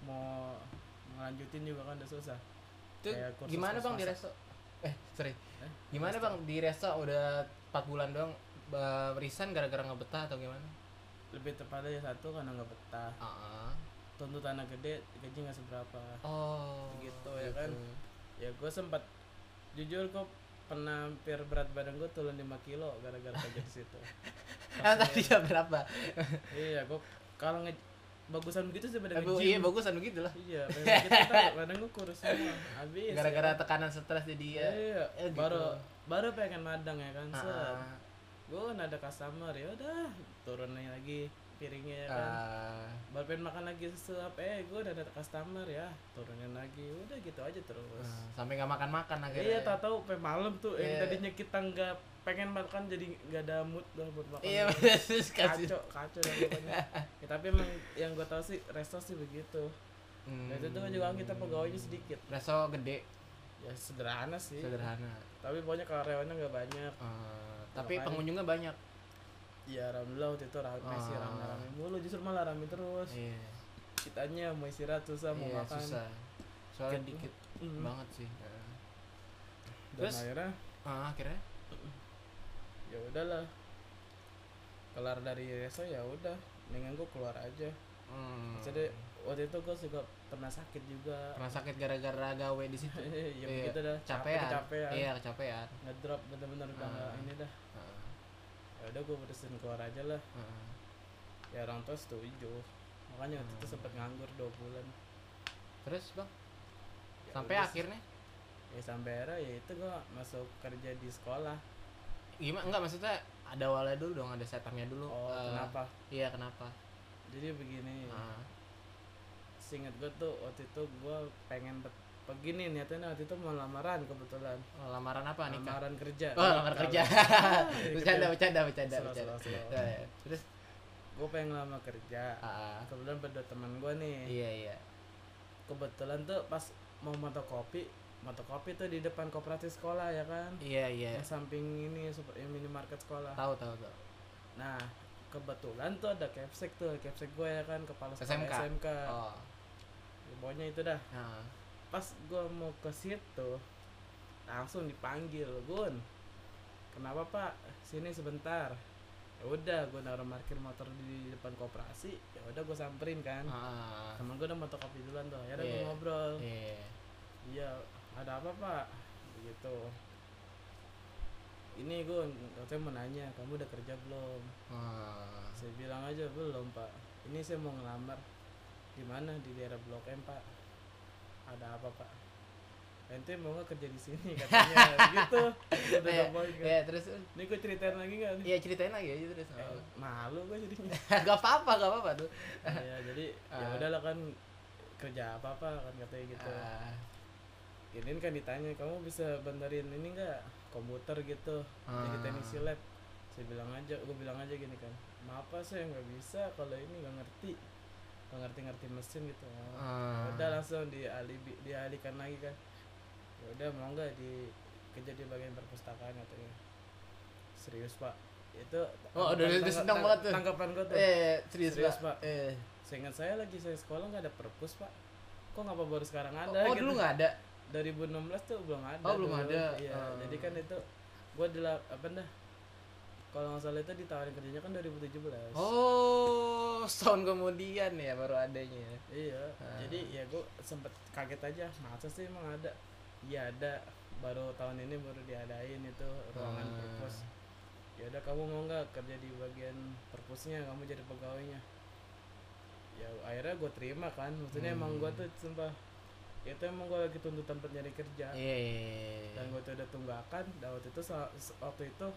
S2: mau ngelanjutin juga kan udah susah
S1: Itu
S2: Kayak kursus
S1: gimana bang di
S2: masak.
S1: resto? Eh, sorry.
S2: Eh,
S1: Gimana bang di resto udah 4 bulan doang ba- resign gara-gara nggak betah atau gimana?
S2: lebih tepatnya ya satu karena nggak betah
S1: Ah.
S2: tuntutan gede gaji nggak seberapa
S1: Oh.
S2: Gitu ya kan? ya gue sempat jujur gue pernah hampir berat badan gue turun 5 kilo gara-gara kerja di situ
S1: Eh, tadi ya berapa?
S2: iya gue kalau nge bagusan begitu sih
S1: Eh,
S2: pada
S1: bu-
S2: nge-gym.
S1: iya bagusan begitu lah.
S2: iya badan kita ntar badan gue kurus semua habis
S1: Gara-gara tekanan stres jadi
S2: ya.
S1: ya.
S2: iya
S1: eh, gitu.
S2: baru baru pengen madang ya kan set
S1: Ah,
S2: gue kan ada customer ya udah turunin lagi piringnya ya kan
S1: ah.
S2: baru pengen makan lagi sesuap eh gue udah ada customer ya turunin lagi udah gitu aja terus
S1: Ah, sampai nggak makan-makan akhirnya.
S2: iya tak tahu pengen malam tuh yang
S1: Iya.
S2: tadinya kita nggak pengen makan jadi nggak ada mood lah buat makan
S1: Iya, bener, terus kasih.
S2: kacau kacau dah pokoknya ya, tapi emang yang gue tahu sih resto sih begitu
S1: Hmm.
S2: nah itu tuh juga kita pegawainya sedikit
S1: Resto gede.
S2: ya sederhana sih
S1: sederhana
S2: tapi pokoknya karyawannya nggak banyak
S1: Eh, tapi
S2: Makanya.
S1: pengunjungnya banyak
S2: ya alhamdulillah waktu itu rame sih
S1: Ah.
S2: rame rame mulu justru malah rame terus
S1: iya
S2: kitanya mau istirahat susah mau
S1: Iya,
S2: makan
S1: susah soalnya
S2: Dikit.
S1: dikit
S2: Mm.
S1: banget sih
S2: dan
S1: Terus?
S2: akhirnya
S1: ah akhirnya
S2: ya udahlah kelar dari reso ya udah dengan gue keluar aja
S1: hmm,
S2: jadi waktu itu gue juga pernah sakit juga
S1: pernah sakit gara-gara gawe di situ
S2: ya
S1: Iya,
S2: begitu dah capek
S1: capean
S2: kecapean
S1: iya kecapean Eh,
S2: ngedrop bener-bener udah
S1: Ah.
S2: nggak ini dah
S1: Heeh,
S2: ya udah gue putusin keluar aja lah
S1: heeh.
S2: ya orang tua setuju makanya waktu itu
S1: Hmm.
S2: sempet nganggur dua bulan
S1: terus bang
S2: Ya
S1: sampai
S2: udah sih.
S1: akhirnya
S2: ya sampai akhirnya ya itu gue masuk kerja di sekolah
S1: gimana enggak maksudnya ada awalnya dulu dong ada setupnya dulu
S2: oh
S1: Eh,
S2: kenapa Iya.
S1: iya kenapa
S2: jadi begini
S1: Ah,
S2: seinget gue tuh waktu itu gue pengen bet- begini niatnya waktu itu mau lamaran kebetulan
S1: oh, lamaran apa nikah
S2: lamaran kerja
S1: oh lamar kerja bercanda bercanda bercanda
S2: Salah,
S1: bercanda
S2: salah,
S1: Ya,
S2: salah.
S1: ya. terus
S2: gue pengen lama kerja
S1: ah, ah.
S2: kebetulan berdua teman gue nih
S1: iya iya
S2: kebetulan tuh pas mau motokopi motokopi tuh di depan koperasi sekolah ya kan
S1: iya iya Ah.
S2: yang samping ini super yang minimarket sekolah
S1: tahu tahu tahu
S2: nah kebetulan tuh ada capsek tuh capsek gue ya kan kepala sekolah
S1: SMK.
S2: SMK,
S1: oh
S2: Ya, pokoknya itu dah
S1: ah.
S2: pas gue mau ke situ langsung dipanggil Gun kenapa pak sini sebentar ya udah gue naruh parkir motor di depan koperasi ya udah gue samperin kan
S1: Ah,
S2: temen gue udah motokopi duluan tuh akhirnya
S1: Iya.
S2: gue ngobrol
S1: iya.
S2: Iya, ada apa pak? Begitu. Ini gue katanya mau nanya, kamu udah kerja belum?
S1: Ah,
S2: Saya bilang aja belum pak. Ini saya mau ngelamar. Di mana? Di daerah Blok M pak. Ada apa pak? Ente mau nggak kerja di sini katanya gitu. Udah
S1: Iya,
S2: double kan.
S1: iya, terus
S2: Ini gue ceritain lagi nggak? nih?
S1: ya ceritain lagi aja terus
S2: Eh, malu gue jadinya.
S1: gak apa apa gak apa apa tuh
S2: Iya, jadi ya
S1: Ah.
S2: udahlah kan kerja apa pak kan katanya gitu.
S1: Ah,
S2: Ini kan ditanya, kamu bisa benerin ini nggak komputer gitu? Jadi
S1: Ah.
S2: teknisi lab. Saya bilang aja, gue bilang aja gini kan. Maaf Pak, saya nggak bisa kalau ini nggak ngerti, nggak ngerti-ngerti mesin gitu. Oh.
S1: ah.
S2: Udah langsung dialibi, dialihkan lagi kan. Ya udah mau nggak di kerja di bagian perpustakaan katanya. Serius Pak, itu
S1: Oh, udah- udah
S2: tangga-
S1: seneng banget tuh.
S2: tanggapan gue tuh.
S1: eh serius,
S2: Serius,
S1: pak,
S2: Pak.
S1: Eh.
S2: Seingat saya lagi saya sekolah nggak ada perpus Pak. Kok ngapa baru sekarang
S1: Oh,
S2: ada?
S1: oh,
S2: gitu.
S1: dulu nggak ada
S2: 2016 tuh belum ada.
S1: Oh, belum
S2: dulu.
S1: ada.
S2: Iya,
S1: Ah.
S2: jadi kan itu gua dilap apa dah? Kalau nggak salah itu ditawarin kerjanya kan 2017.
S1: oh setahun kemudian ya baru adanya
S2: Iya.
S1: Ah.
S2: Jadi ya gua sempet kaget aja, masa sih emang ada? Iya ada. Baru tahun ini baru diadain itu ruangan
S1: Ah.
S2: perpus. Ya udah kamu mau nggak kerja di bagian perpusnya, kamu jadi pegawainya. Ya akhirnya gua terima kan. Maksudnya
S1: Hmm.
S2: emang gua tuh sumpah itu emang gua lagi tuntutan pencari kerja.
S1: iya iya, iya.
S2: dan gue tuh ada tunggakan dan waktu itu sa- s- waktu itu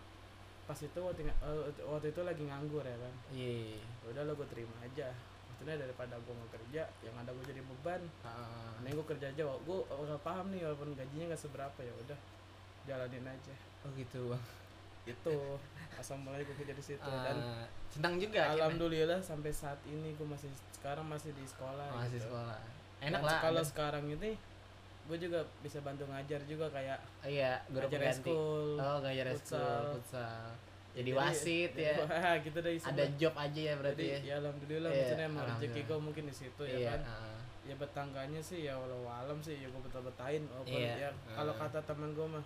S2: pas itu waktu, nga- eh, waktu- waktu itu lagi nganggur ya kan
S1: iya iya.
S2: Ya udah lo gue terima aja maksudnya daripada gue mau kerja yang ada gue jadi beban
S1: Ah,
S2: mending gue kerja aja gue nggak paham nih walaupun gajinya nggak seberapa ya udah jalanin aja
S1: oh gitu bang
S2: itu asal mulai gue kerja di situ Gitu, dan
S1: Ah, senang juga akhirnya.
S2: alhamdulillah sampai saat ini gue masih sekarang masih di sekolah
S1: masih
S2: gitu.
S1: sekolah
S2: Dan
S1: enak lah
S2: kalau
S1: ada-
S2: sekarang ini gue juga bisa bantu ngajar juga kayak
S1: iya guru
S2: ngajar
S1: pengganti
S2: eskul
S1: oh ngajar
S2: futsal.
S1: futsal futsal jadi wasit
S2: jadi-
S1: ya
S2: gitu deh isinya.
S1: ada job aja ya berarti
S2: Jadi,
S1: ya
S2: ya alhamdulillah
S1: Iya,
S2: maksudnya emang rezeki
S1: alhamdulillah.
S2: gue mungkin di situ ya
S1: iya
S2: kan
S1: ah.
S2: ya betangganya sih ya walau alam sih ya gue betah betain walaupun
S1: Iya,
S2: ya kalau
S1: ah.
S2: kata teman gue mah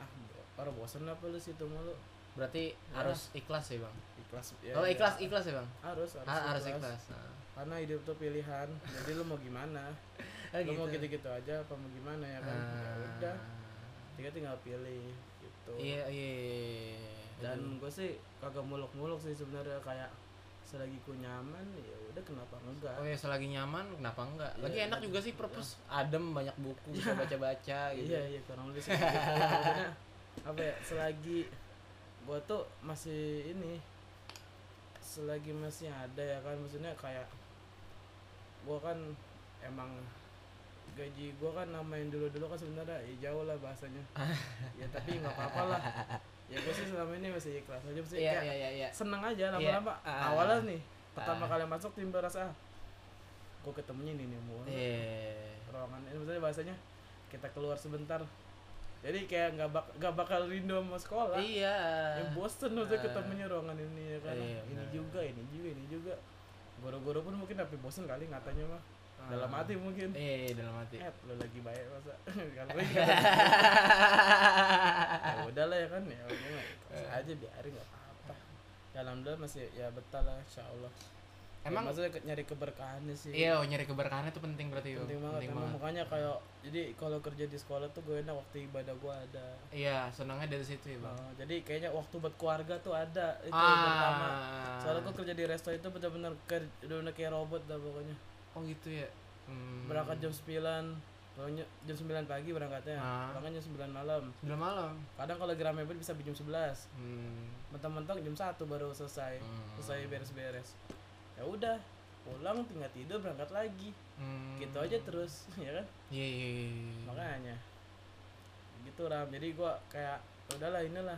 S2: ah bo- orang bosen apa lu situ mulu
S1: berarti
S2: Iya.
S1: harus ikhlas ya bang
S2: ikhlas ya,
S1: oh
S2: ya.
S1: ikhlas ikhlas ya bang
S2: harus harus,
S1: Ah, harus ikhlas Ah.
S2: karena hidup tuh pilihan jadi lu mau gimana
S1: Oh,
S2: lu mau gitu-gitu aja apa mau gimana ya kan ya
S1: Ah.
S2: udah tinggal tinggal pilih gitu
S1: Iya, iya. iya.
S2: dan gue sih kagak muluk-muluk sih sebenarnya kayak selagi ku nyaman ya udah kenapa enggak
S1: Oh ya selagi nyaman kenapa enggak? Lagi
S2: Iya,
S1: enak
S2: iya.
S1: juga sih perpus adem banyak buku bisa baca-baca gitu.
S2: Iya iya kurang lebih seperti itu. Maksudnya, apa ya selagi gua tuh masih ini selagi masih ada ya kan maksudnya kayak gua kan emang gaji gua kan namain dulu dulu kan sebenarnya ya jauh lah bahasanya ya tapi nggak apa-apa lah ya gua sih selama ini masih ikhlas aja sih
S1: Iya,
S2: kayak
S1: iya, iya, iya.
S2: seneng aja lama-lama
S1: Iya. Ah.
S2: awalnya nih pertama
S1: Ah.
S2: kali masuk timbul rasa ah, gua ketemunya ini nih mulu
S1: Eh,
S2: ruangan ini maksudnya bahasanya kita keluar sebentar jadi kayak nggak bak nggak bakal rindu sama sekolah
S1: Iya.
S2: ya bosen udah
S1: Ah.
S2: ketemunya ruangan ini ya kan
S1: Iya,
S2: ini
S1: benar.
S2: juga ini juga ini juga goro-goro pun mungkin tapi bosen kali ngatanya mah dalam
S1: Ah.
S2: hati mungkin
S1: Iya, iya, dalam hati.
S2: eh lu lagi baik masa kalau lagi kata ya udah lah ya kan ya udah lah.
S1: Eh.
S2: Terus aja biarin nggak apa-apa ya alhamdulillah masih ya betah lah insya Allah Ya,
S1: Emang
S2: maksudnya ke- nyari keberkahannya sih
S1: iya oh, nyari keberkahan itu Iya, penting berarti yo.
S2: penting banget emang makanya kayak jadi kalau kerja di sekolah tuh gue enak waktu ibadah gue ada
S1: Iya, senangnya dari situ ya, Bang.
S2: Nah, jadi kayaknya waktu buat keluarga tuh ada itu yang pertama
S1: Ah.
S2: soalnya gue kerja di resto itu bener-bener ker- bener-bener kayak robot dah pokoknya
S1: Oh gitu ya. Hmm.
S2: berangkat jam 9 pokoknya jam 9 pagi berangkatnya
S1: Ah.
S2: berangkat jam 9 malam
S1: Udah malam.
S2: kadang kalau lagi rame banget bisa sampai jam 11
S1: Hmm.
S2: mentang-mentang jam 1 baru selesai
S1: Hmm.
S2: selesai beres-beres ya udah pulang tinggal tidur berangkat lagi
S1: Hmm.
S2: gitu aja terus ya kan
S1: Iya, iya, iya, iya.
S2: makanya gitu ram jadi gua kayak "Ya udahlah inilah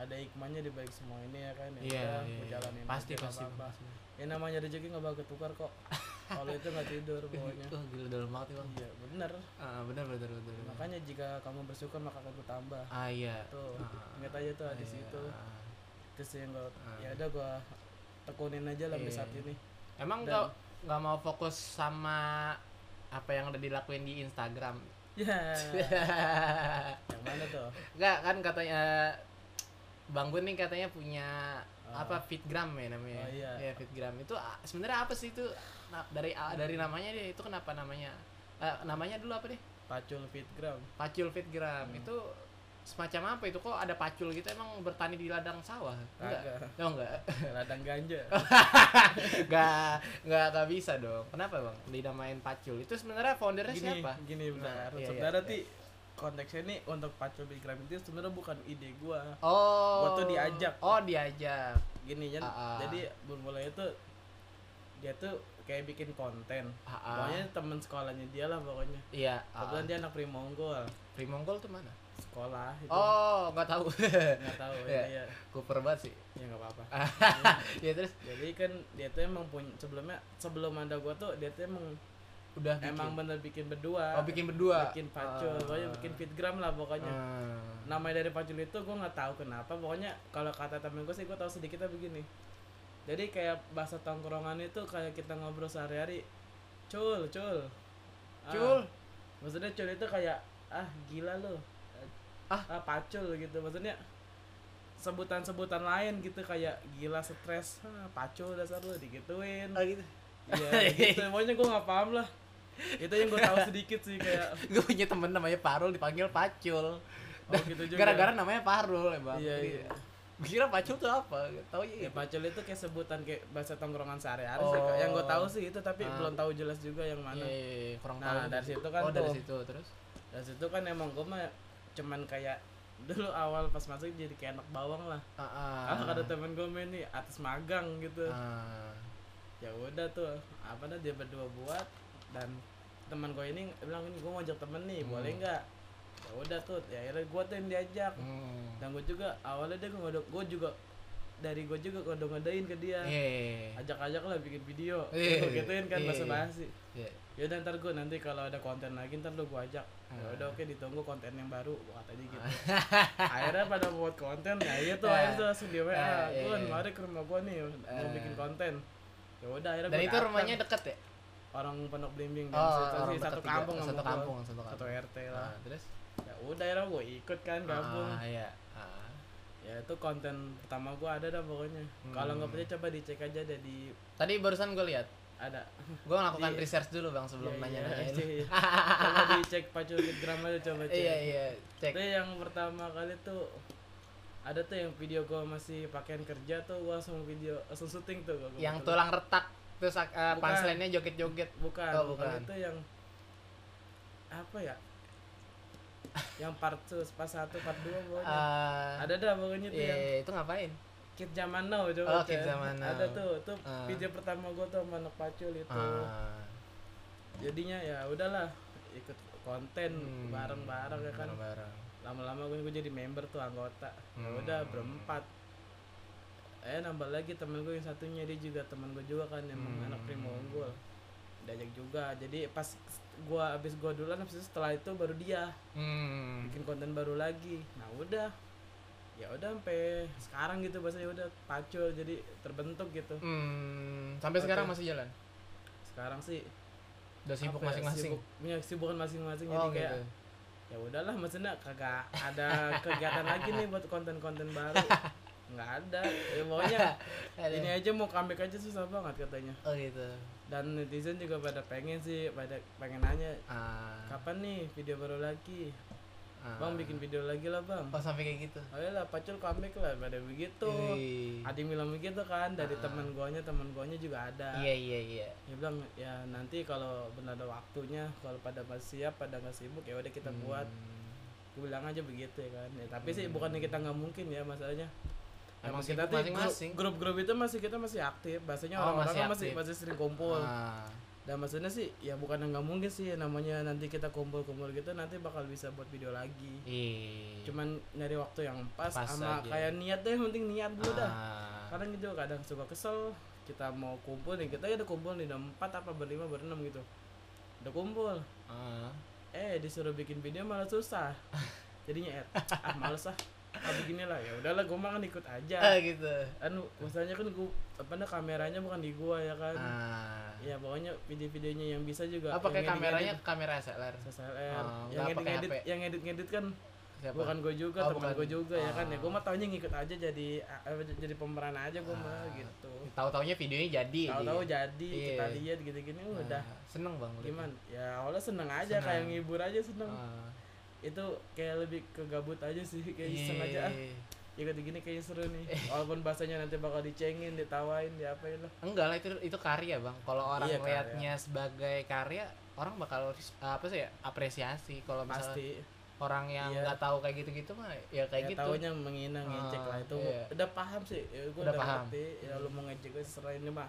S2: ada hikmahnya di balik semua ini ya kan ya
S1: Iya,
S2: udah,
S1: iya,
S2: gua
S1: iya.
S2: jalanin
S1: Pasti
S2: aja, nggak
S1: pasti.
S2: apa-apa.
S1: pasti.
S2: ya namanya rezeki nggak bakal ketukar kok kalau itu nggak tidur pokoknya
S1: Oh, gila dalam banget ya, Bang.
S2: iya bener
S1: Ah, benar benar benar. benar.
S2: makanya jika kamu bersyukur maka akan bertambah
S1: Ah, iya.
S2: tuh
S1: Ah,
S2: ingat aja tuh hadis
S1: iya.
S2: itu terus yang gua
S1: Ah.
S2: ya udah gua tekunin aja lah sampai
S1: Iya.
S2: saat ini
S1: Emang
S2: Dan-
S1: nggak nggak mau fokus sama apa yang udah dilakuin di Instagram?
S2: ya yang mana tuh
S1: Enggak kan katanya Bang Gun nih katanya punya
S2: Ah.
S1: apa fitgram ya namanya.
S2: Oh, iya.
S1: fitgram. Itu ah, sebenarnya apa sih itu? Na- Dari ah, dari namanya deh itu kenapa namanya? Eh, namanya dulu apa deh?
S2: pacul fitgram
S1: Pacul fitgram.
S2: Hmm.
S1: Itu semacam apa itu kok ada pacul gitu emang bertani di ladang sawah? Enggak.
S2: kagak
S1: Oh enggak.
S2: ladang ganja
S1: Enggak enggak enggak bisa dong. Kenapa, Bang? Dinamain pacul. Itu sebenarnya foundernya
S2: gini
S1: siapa?
S2: gini
S1: Nah,
S2: bentar
S1: iya, iya,
S2: sebenarnya
S1: iya.
S2: ti konteksnya nih untuk pacul fitgram itu sebenarnya bukan ide gua
S1: Oh.
S2: Gua tuh diajak.
S1: Oh, diajak.
S2: gini Jan.
S1: Ah, ah.
S2: jadi bermulanya tuh dia tuh kayak bikin konten
S1: Ah, ah.
S2: pokoknya temen sekolahnya dia lah pokoknya
S1: Iya. ah.
S2: kebetulan dia anak primonggol
S1: Primonggol tuh mana?
S2: sekolah itu
S1: Oh, nggak tahu.
S2: nggak tahu
S1: Iya.
S2: ya ya
S1: Kuper banget sih.
S2: ya nggak apa-apa
S1: ya terus
S2: jadi kan dia tuh emang punya sebelumnya sebelum ada gua tuh dia tuh emang
S1: udah Ah, bikin.
S2: emang bener bikin berdua
S1: oh, bikin berdua. Ah.
S2: bikin pacul pokoknya bikin Nah, fitgram lah pokoknya
S1: Hmm.
S2: namanya dari pacul itu gue nggak tahu kenapa pokoknya kalau kata temen gue sih gue tahu sedikitnya begini jadi kayak bahasa tongkrongan itu kayak kita ngobrol sehari-hari cul cul Ah,
S1: Cul.
S2: maksudnya cul itu kayak ah gila lo
S1: Ah.
S2: pacul gitu maksudnya sebutan-sebutan lain gitu kayak gila stres ah, pacul dasar lo digituin
S1: Oh, gitu.
S2: iya gitu pokoknya gue nggak paham lah itu yang gue tahu sedikit sih kayak
S1: Gue punya temen namanya Parul dipanggil Pacul.
S2: oh gitu juga
S1: Gara-gara namanya ya, Parul emang.
S2: Iya, iya.
S1: Gue kira Pacul tuh apa? Tahu ya.
S2: Ya pacul itu kayak sebutan kayak bahasa tongkrongan sehari-hari
S1: Oh.
S2: sih Kak. yang gue tahu sih itu tapi
S1: Ah.
S2: belum tahu jelas juga yang
S1: Iya,
S2: mana.
S1: iya, iya. kurang
S2: Nah,
S1: tahu.
S2: dari situ kan
S1: Oh, dari
S2: tuh.
S1: situ terus.
S2: Dan situ kan emang gue mah cuman kayak dulu awal pas masuk jadi kayak anak bawang lah.
S1: Ah, ah.
S2: Ah. ada temen gue main nih atas magang gitu.
S1: Ah.
S2: Ya udah tuh apa dah dia berdua buat dan teman gue ini bilang ini gue mau ajak temen nih
S1: Hmm.
S2: boleh nggak? Ya udah tuh ya akhirnya gue tuh yang diajak.
S1: Hmm.
S2: Dan gue juga awalnya dia ngodok gue juga dari gue juga kodong-kodoin ke dia.
S1: Iya, iya,
S2: ajak-ajak lah bikin video
S1: Iya.
S2: Gua gituin kan
S1: Iya.
S2: bahasa basi
S1: iya.
S2: ya udah ntar gue nanti kalau ada konten lagi ntar lu gue ajak ya
S1: Ah.
S2: udah oke ditunggu konten yang baru gua kata aja gitu akhirnya pada buat konten ya iya tuh
S1: Ah.
S2: akhirnya tuh langsung di WA
S1: Ah, iya,
S2: gue
S1: iya.
S2: mari ke rumah gue nih mau
S1: Ah.
S2: bikin konten ya udah akhirnya
S1: Dan
S2: gua
S1: itu
S2: datang.
S1: rumahnya deket ya?
S2: orang pondok blimbing
S1: Oh, orang
S2: sih, satu
S1: deket juga.
S2: kampung sama
S1: satu
S2: gua.
S1: kampung, satu
S2: satu
S1: kampung.
S2: RT lah
S1: Ah, terus?
S2: ya udah akhirnya gue ikut kan gabung
S1: Ah, iya. Ah.
S2: ya itu konten pertama gue ada dah pokoknya kalau
S1: Hmm.
S2: nggak percaya coba dicek aja ada di
S1: Tadi barusan gue lihat.
S2: ada
S1: Gue melakukan
S2: Di-
S1: research dulu bang sebelum
S2: Iya, iya,
S1: nanya-nanya. dulu.
S2: iya, iya. Coba dicek pacu Instagram aja coba cek.
S1: Iya iya. Cek.
S2: Itu yang pertama kali tuh ada tuh yang video gua masih pakaian kerja tuh gua langsung video langsung syuting tuh gua.
S1: Yang
S2: kebetulan.
S1: tulang retak terus uh,
S2: Bukan.
S1: punchline-nya joget-joget.
S2: bukan,
S1: Oh,
S2: bukan.
S1: bukan.
S2: itu yang apa ya? yang part two, part 1, part 2 pokoknya.
S1: Ah,
S2: ada dah pokoknya tuh
S1: iya,
S2: yang
S1: itu ngapain?
S2: Kid Zaman Now coba.
S1: Oh,
S2: cek.
S1: Kids Zaman Now.
S2: Ada tuh, tuh
S1: Ah.
S2: video pertama gua tuh sama anak pacul itu.
S1: Ah,
S2: Jadinya ya udahlah ikut konten
S1: hmm,
S2: bareng-bareng ya kan.
S1: bareng-bareng.
S2: lama-lama gue, gue jadi member tuh anggota Ya
S1: Hmm.
S2: udah berempat eh nambah lagi temen gue yang satunya dia juga temen gue juga kan emang
S1: Hmm.
S2: anak primo unggul diajak juga jadi pas gua abis gua duluan abis itu setelah itu baru dia
S1: Hmm.
S2: bikin konten baru lagi nah udah ya udah sampai sekarang gitu bahasanya udah pacul jadi terbentuk gitu
S1: Hmm. Sampai
S2: Oke.
S1: sekarang masih jalan.
S2: sekarang sih
S1: Udah sibuk
S2: apa ya,
S1: masing-masing.
S2: sibuk- punya sibukan masing-masing jadi
S1: Oh,
S2: kayak
S1: gitu.
S2: ya udahlah maksudnya kagak ada kegiatan lagi nih buat konten-konten baru nggak ada ya pokoknya
S1: Aduh.
S2: ini aja mau comeback aja susah banget katanya
S1: Oh gitu.
S2: dan netizen juga pada pengen sih pada pengen nanya
S1: Ah.
S2: kapan nih video baru lagi
S1: ah.
S2: bang bikin video lagi lah bang
S1: Oh sampai kayak gitu.
S2: ayolah pacul comeback lah pada begitu
S1: Ih.
S2: ada yang bilang begitu kan dari
S1: Iya. Ah.
S2: teman guanya teman guanya juga ada
S1: Iya iya iya.
S2: dia bilang ya nanti kalau benar ada waktunya kalau pada nggak siap pada nggak sibuk ya udah kita buat gue bilang aja begitu ya kan ya, tapi
S1: Hmm.
S2: sih bukannya kita nggak mungkin ya masalahnya
S1: Emang
S2: Emang kita
S1: sibuk
S2: tuh
S1: masing-masing.
S2: grup- grup-grup itu masih kita masih aktif, bahasanya
S1: Oh,
S2: orang-orang
S1: masih
S2: kan masih,
S1: aktif.
S2: masih sering kumpul.
S1: Ah.
S2: Dan maksudnya sih ya bukan nggak mungkin sih namanya nanti kita kumpul-kumpul gitu nanti bakal bisa buat video lagi.
S1: Ih.
S2: Cuman nyari waktu yang pas,
S1: Pas
S2: sama
S1: aja.
S2: kayak niat deh, yang penting niat dulu dah.
S1: Ah.
S2: Kadang gitu kadang suka kesel, kita mau kumpul nih, kita udah kumpul nih udah empat apa berlima berenam gitu. Udah kumpul,
S1: Ah.
S2: eh disuruh bikin video malah susah. Jadinya eh ah males ah. Ah beginilah ya udahlah gue mah kan ikut aja
S1: Ah, gitu.
S2: kan misalnya kan gua apa nah, kameranya bukan di gua ya kan
S1: Ah.
S2: ya pokoknya video-videonya yang bisa juga
S1: Oh, pakai
S2: Yang
S1: kameranya
S2: edit-edit-
S1: kamera SLR.
S2: SLR
S1: Oh, nggak
S2: yang edit
S1: pakai
S2: edit
S1: HP.
S2: yang edit edit kan
S1: Siapa?
S2: bukan gua juga
S1: Oh,
S2: teman
S1: bukan.
S2: gua juga ya kan ya
S1: Ah.
S2: gua mah taunya ngikut aja jadi eh, jadi pemeran aja gua mah
S1: Ah.
S2: gitu
S1: Tahu-taunya videonya jadi.
S2: tahu-tahu jadi
S1: Iya.
S2: kita lihat gitu-gini
S1: Ah,
S2: udah
S1: Seneng bang. liat.
S2: gimana ya awalnya seneng aja
S1: Seneng.
S2: kayak ngibur aja seneng
S1: Ah.
S2: itu kayak lebih ke gabut aja sih kayak
S1: Iya.
S2: iseng aja ah, ya gitu gini kayaknya seru nih walaupun bahasanya nanti bakal dicengin ditawain diapain lah
S1: Enggak lah itu itu karya bang. Kalau orang
S2: Iya, karya.
S1: melihatnya sebagai karya, orang bakal ris- apa sih ya apresiasi. Kalau misalnya
S2: pasti
S1: orang yang
S2: Iya.
S1: nggak tahu kayak gitu-gitu mah ya kayak
S2: ya,
S1: gitu.
S2: taunya menghina ngecek
S1: Ah,
S2: lah itu
S1: iya.
S2: udah paham sih ya,
S1: Udah
S2: gue udah,
S1: paham.
S2: ngerti ya lu mau ngecek gue serah ini mah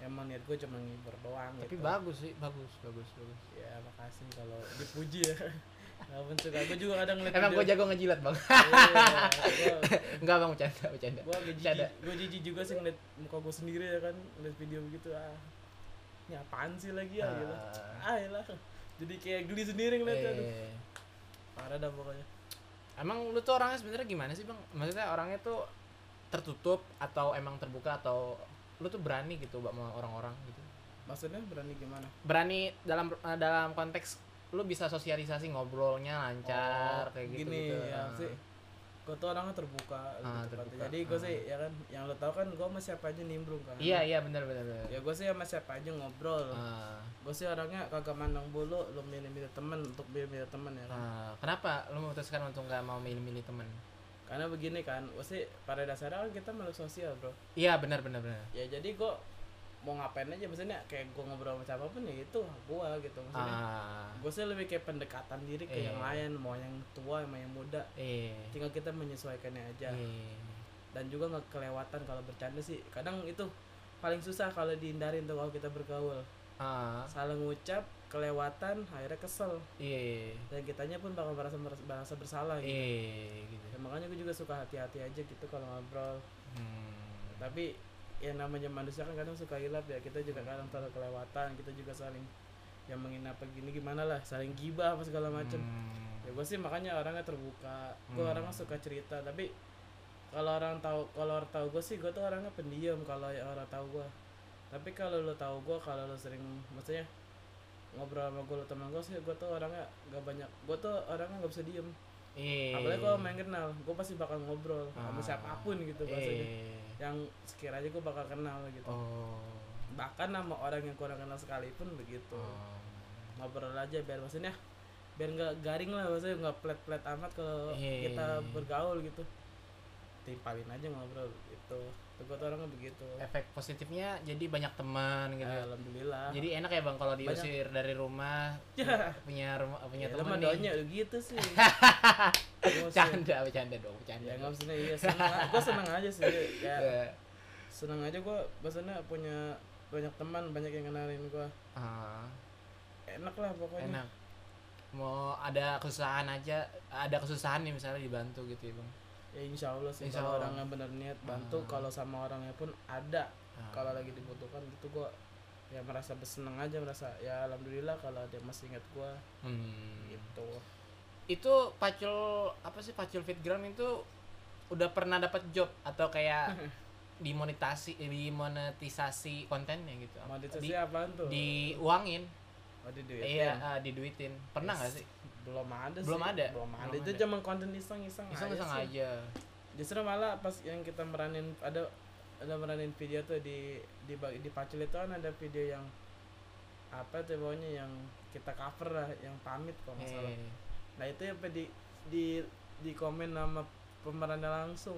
S2: emang niat gue cuma ngibur doang
S1: Tapi
S2: gitu.
S1: bagus sih, bagus, bagus, bagus.
S2: ya makasih kalau dipuji ya Walaupun suka gue juga kadang ngeliat
S1: Emang gue
S2: video-
S1: jago ngejilat bang.
S2: Iya,
S1: Enggak bang bercanda, bercanda.
S2: gue gue jijik
S1: Bercanda.
S2: gue jijik juga sih ngeliat muka gue sendiri ya kan ngeliat video begitu ah ini apaan sih lagi ya gitu
S1: Ah.
S2: ah lah jadi kayak geli sendiri ngeliatnya aduh
S1: Eh,
S2: parah dah pokoknya
S1: Emang lu tuh orangnya sebenarnya gimana sih bang? Maksudnya orangnya tuh tertutup atau emang terbuka atau lu tuh berani gitu bang sama orang-orang gitu?
S2: maksudnya berani gimana
S1: Berani dalam eh, dalam konteks lu bisa sosialisasi ngobrolnya lancar
S2: Oh,
S1: kayak gitu
S2: gini
S1: gitu.
S2: ya
S1: Ah.
S2: sih gue tuh orangnya terbuka lebih
S1: Ah,
S2: tepatnya.
S1: terbuka.
S2: jadi gue
S1: Ah.
S2: sih ya kan yang lo tau kan gue sama siapa aja nimbrung kan
S1: Iya iya benar benar. benar.
S2: ya gue sih sama siapa aja ngobrol
S1: Ah.
S2: gue sih orangnya kagak mandang bulu lo milih-milih temen untuk milih-milih temen ya kan
S1: Ah, kenapa lu memutuskan untuk nggak mau milih-milih temen?
S2: karena begini kan gue sih pada dasarnya kan kita makhluk sosial bro
S1: Iya benar benar benar.
S2: ya jadi gue mau ngapain aja maksudnya kayak gue ngobrol sama siapapun ya itu gue gitu maksudnya
S1: Ah,
S2: gue sih lebih kayak pendekatan diri ke
S1: Iya.
S2: yang lain mau yang tua mau yang muda
S1: eh,
S2: tinggal kita menyesuaikannya aja
S1: eh.
S2: dan juga nggak kelewatan kalau bercanda sih kadang itu paling susah kalau dihindarin tuh kalau kita bergaul
S1: Ah,
S2: salah ngucap kelewatan akhirnya kesel
S1: eh,
S2: dan kitanya pun bakal merasa merasa bersalah gitu
S1: eh, gitu.
S2: Ya, makanya gue juga suka hati-hati aja gitu kalau ngobrol
S1: Hmm.
S2: tapi ya namanya manusia kan kadang suka hilap ya kita juga kadang terlalu kelewatan kita juga saling yang menghina apa gini gimana lah saling gibah apa segala macem
S1: Hmm.
S2: ya gue sih makanya orangnya terbuka gue
S1: Hmm.
S2: orangnya suka cerita tapi kalau orang tahu kalau orang tahu gue sih gue tuh orangnya pendiam kalau ya orang tahu gue tapi kalau lo tahu gue kalau lo sering maksudnya ngobrol sama gue lo teman gue sih gue tuh orangnya gak banyak gue tuh orangnya gak bisa diem
S1: Eh.
S2: apalagi kalau main kenal gue pasti bakal ngobrol sama
S1: Ah.
S2: siapapun gitu maksudnya
S1: Eh.
S2: yang sekiranya gue bakal kenal gitu
S1: Oh.
S2: bahkan sama orang yang kurang kenal sekalipun begitu
S1: Oh.
S2: ngobrol aja biar maksudnya biar nggak garing lah maksudnya nggak plet-plet amat kalau
S1: Iya.
S2: kita bergaul gitu timpalin aja ngobrol gitu Tuh, gua tuh orangnya begitu
S1: Efek positifnya jadi banyak teman gitu.
S2: Ya, alhamdulillah
S1: Jadi enak ya bang kalau diusir dari rumah
S2: Ya.
S1: punya rumah punya
S2: ya,
S1: teman
S2: teman
S1: nih.
S2: doanya gitu sih Emosi.
S1: Canda, bercanda dong, bercanda.
S2: ya nggak maksudnya iya seneng gue seneng aja sih ya
S1: Eh,
S2: seneng aja gue maksudnya punya banyak teman banyak yang kenalin gue
S1: ah,
S2: enak lah pokoknya
S1: enak. Mau ada kesusahan aja, ada kesusahan nih misalnya dibantu gitu ya bang.
S2: ya insya Allah sih
S1: Insya
S2: kalau
S1: Allah.
S2: orangnya bener niat bantu
S1: Ah.
S2: kalau sama orangnya pun ada
S1: Ah.
S2: kalau lagi dibutuhkan gitu gue ya merasa bersenang aja merasa ya alhamdulillah kalau dia masih ingat gua
S1: Hmm.
S2: gitu
S1: Itu pacul apa sih pacul fitgram itu udah pernah dapat job atau kayak dimonetasi dimonetisasi kontennya gitu. Apa-
S2: monetisasi
S1: di,
S2: ya, apaan tuh
S1: diuangin.
S2: oh di duit
S1: Iya, ah, diduitin. Pernah nggak sih?
S2: Nah, belum ada
S1: Belum
S2: sih.
S1: ada?
S2: belum ada
S1: Belum
S2: itu
S1: ada.
S2: cuma konten iseng iseng
S1: Iseng-iseng
S2: iya sih.
S1: aja.
S2: justru malah pas yang kita meranin ada ada meranin video tuh di di ba- di pacul itu kan ada video yang apa tuh pokoknya yang kita cover lah yang pamit kalau nggak salah
S1: Eh,
S2: nah itu apa di di di komen nama pemerannya langsung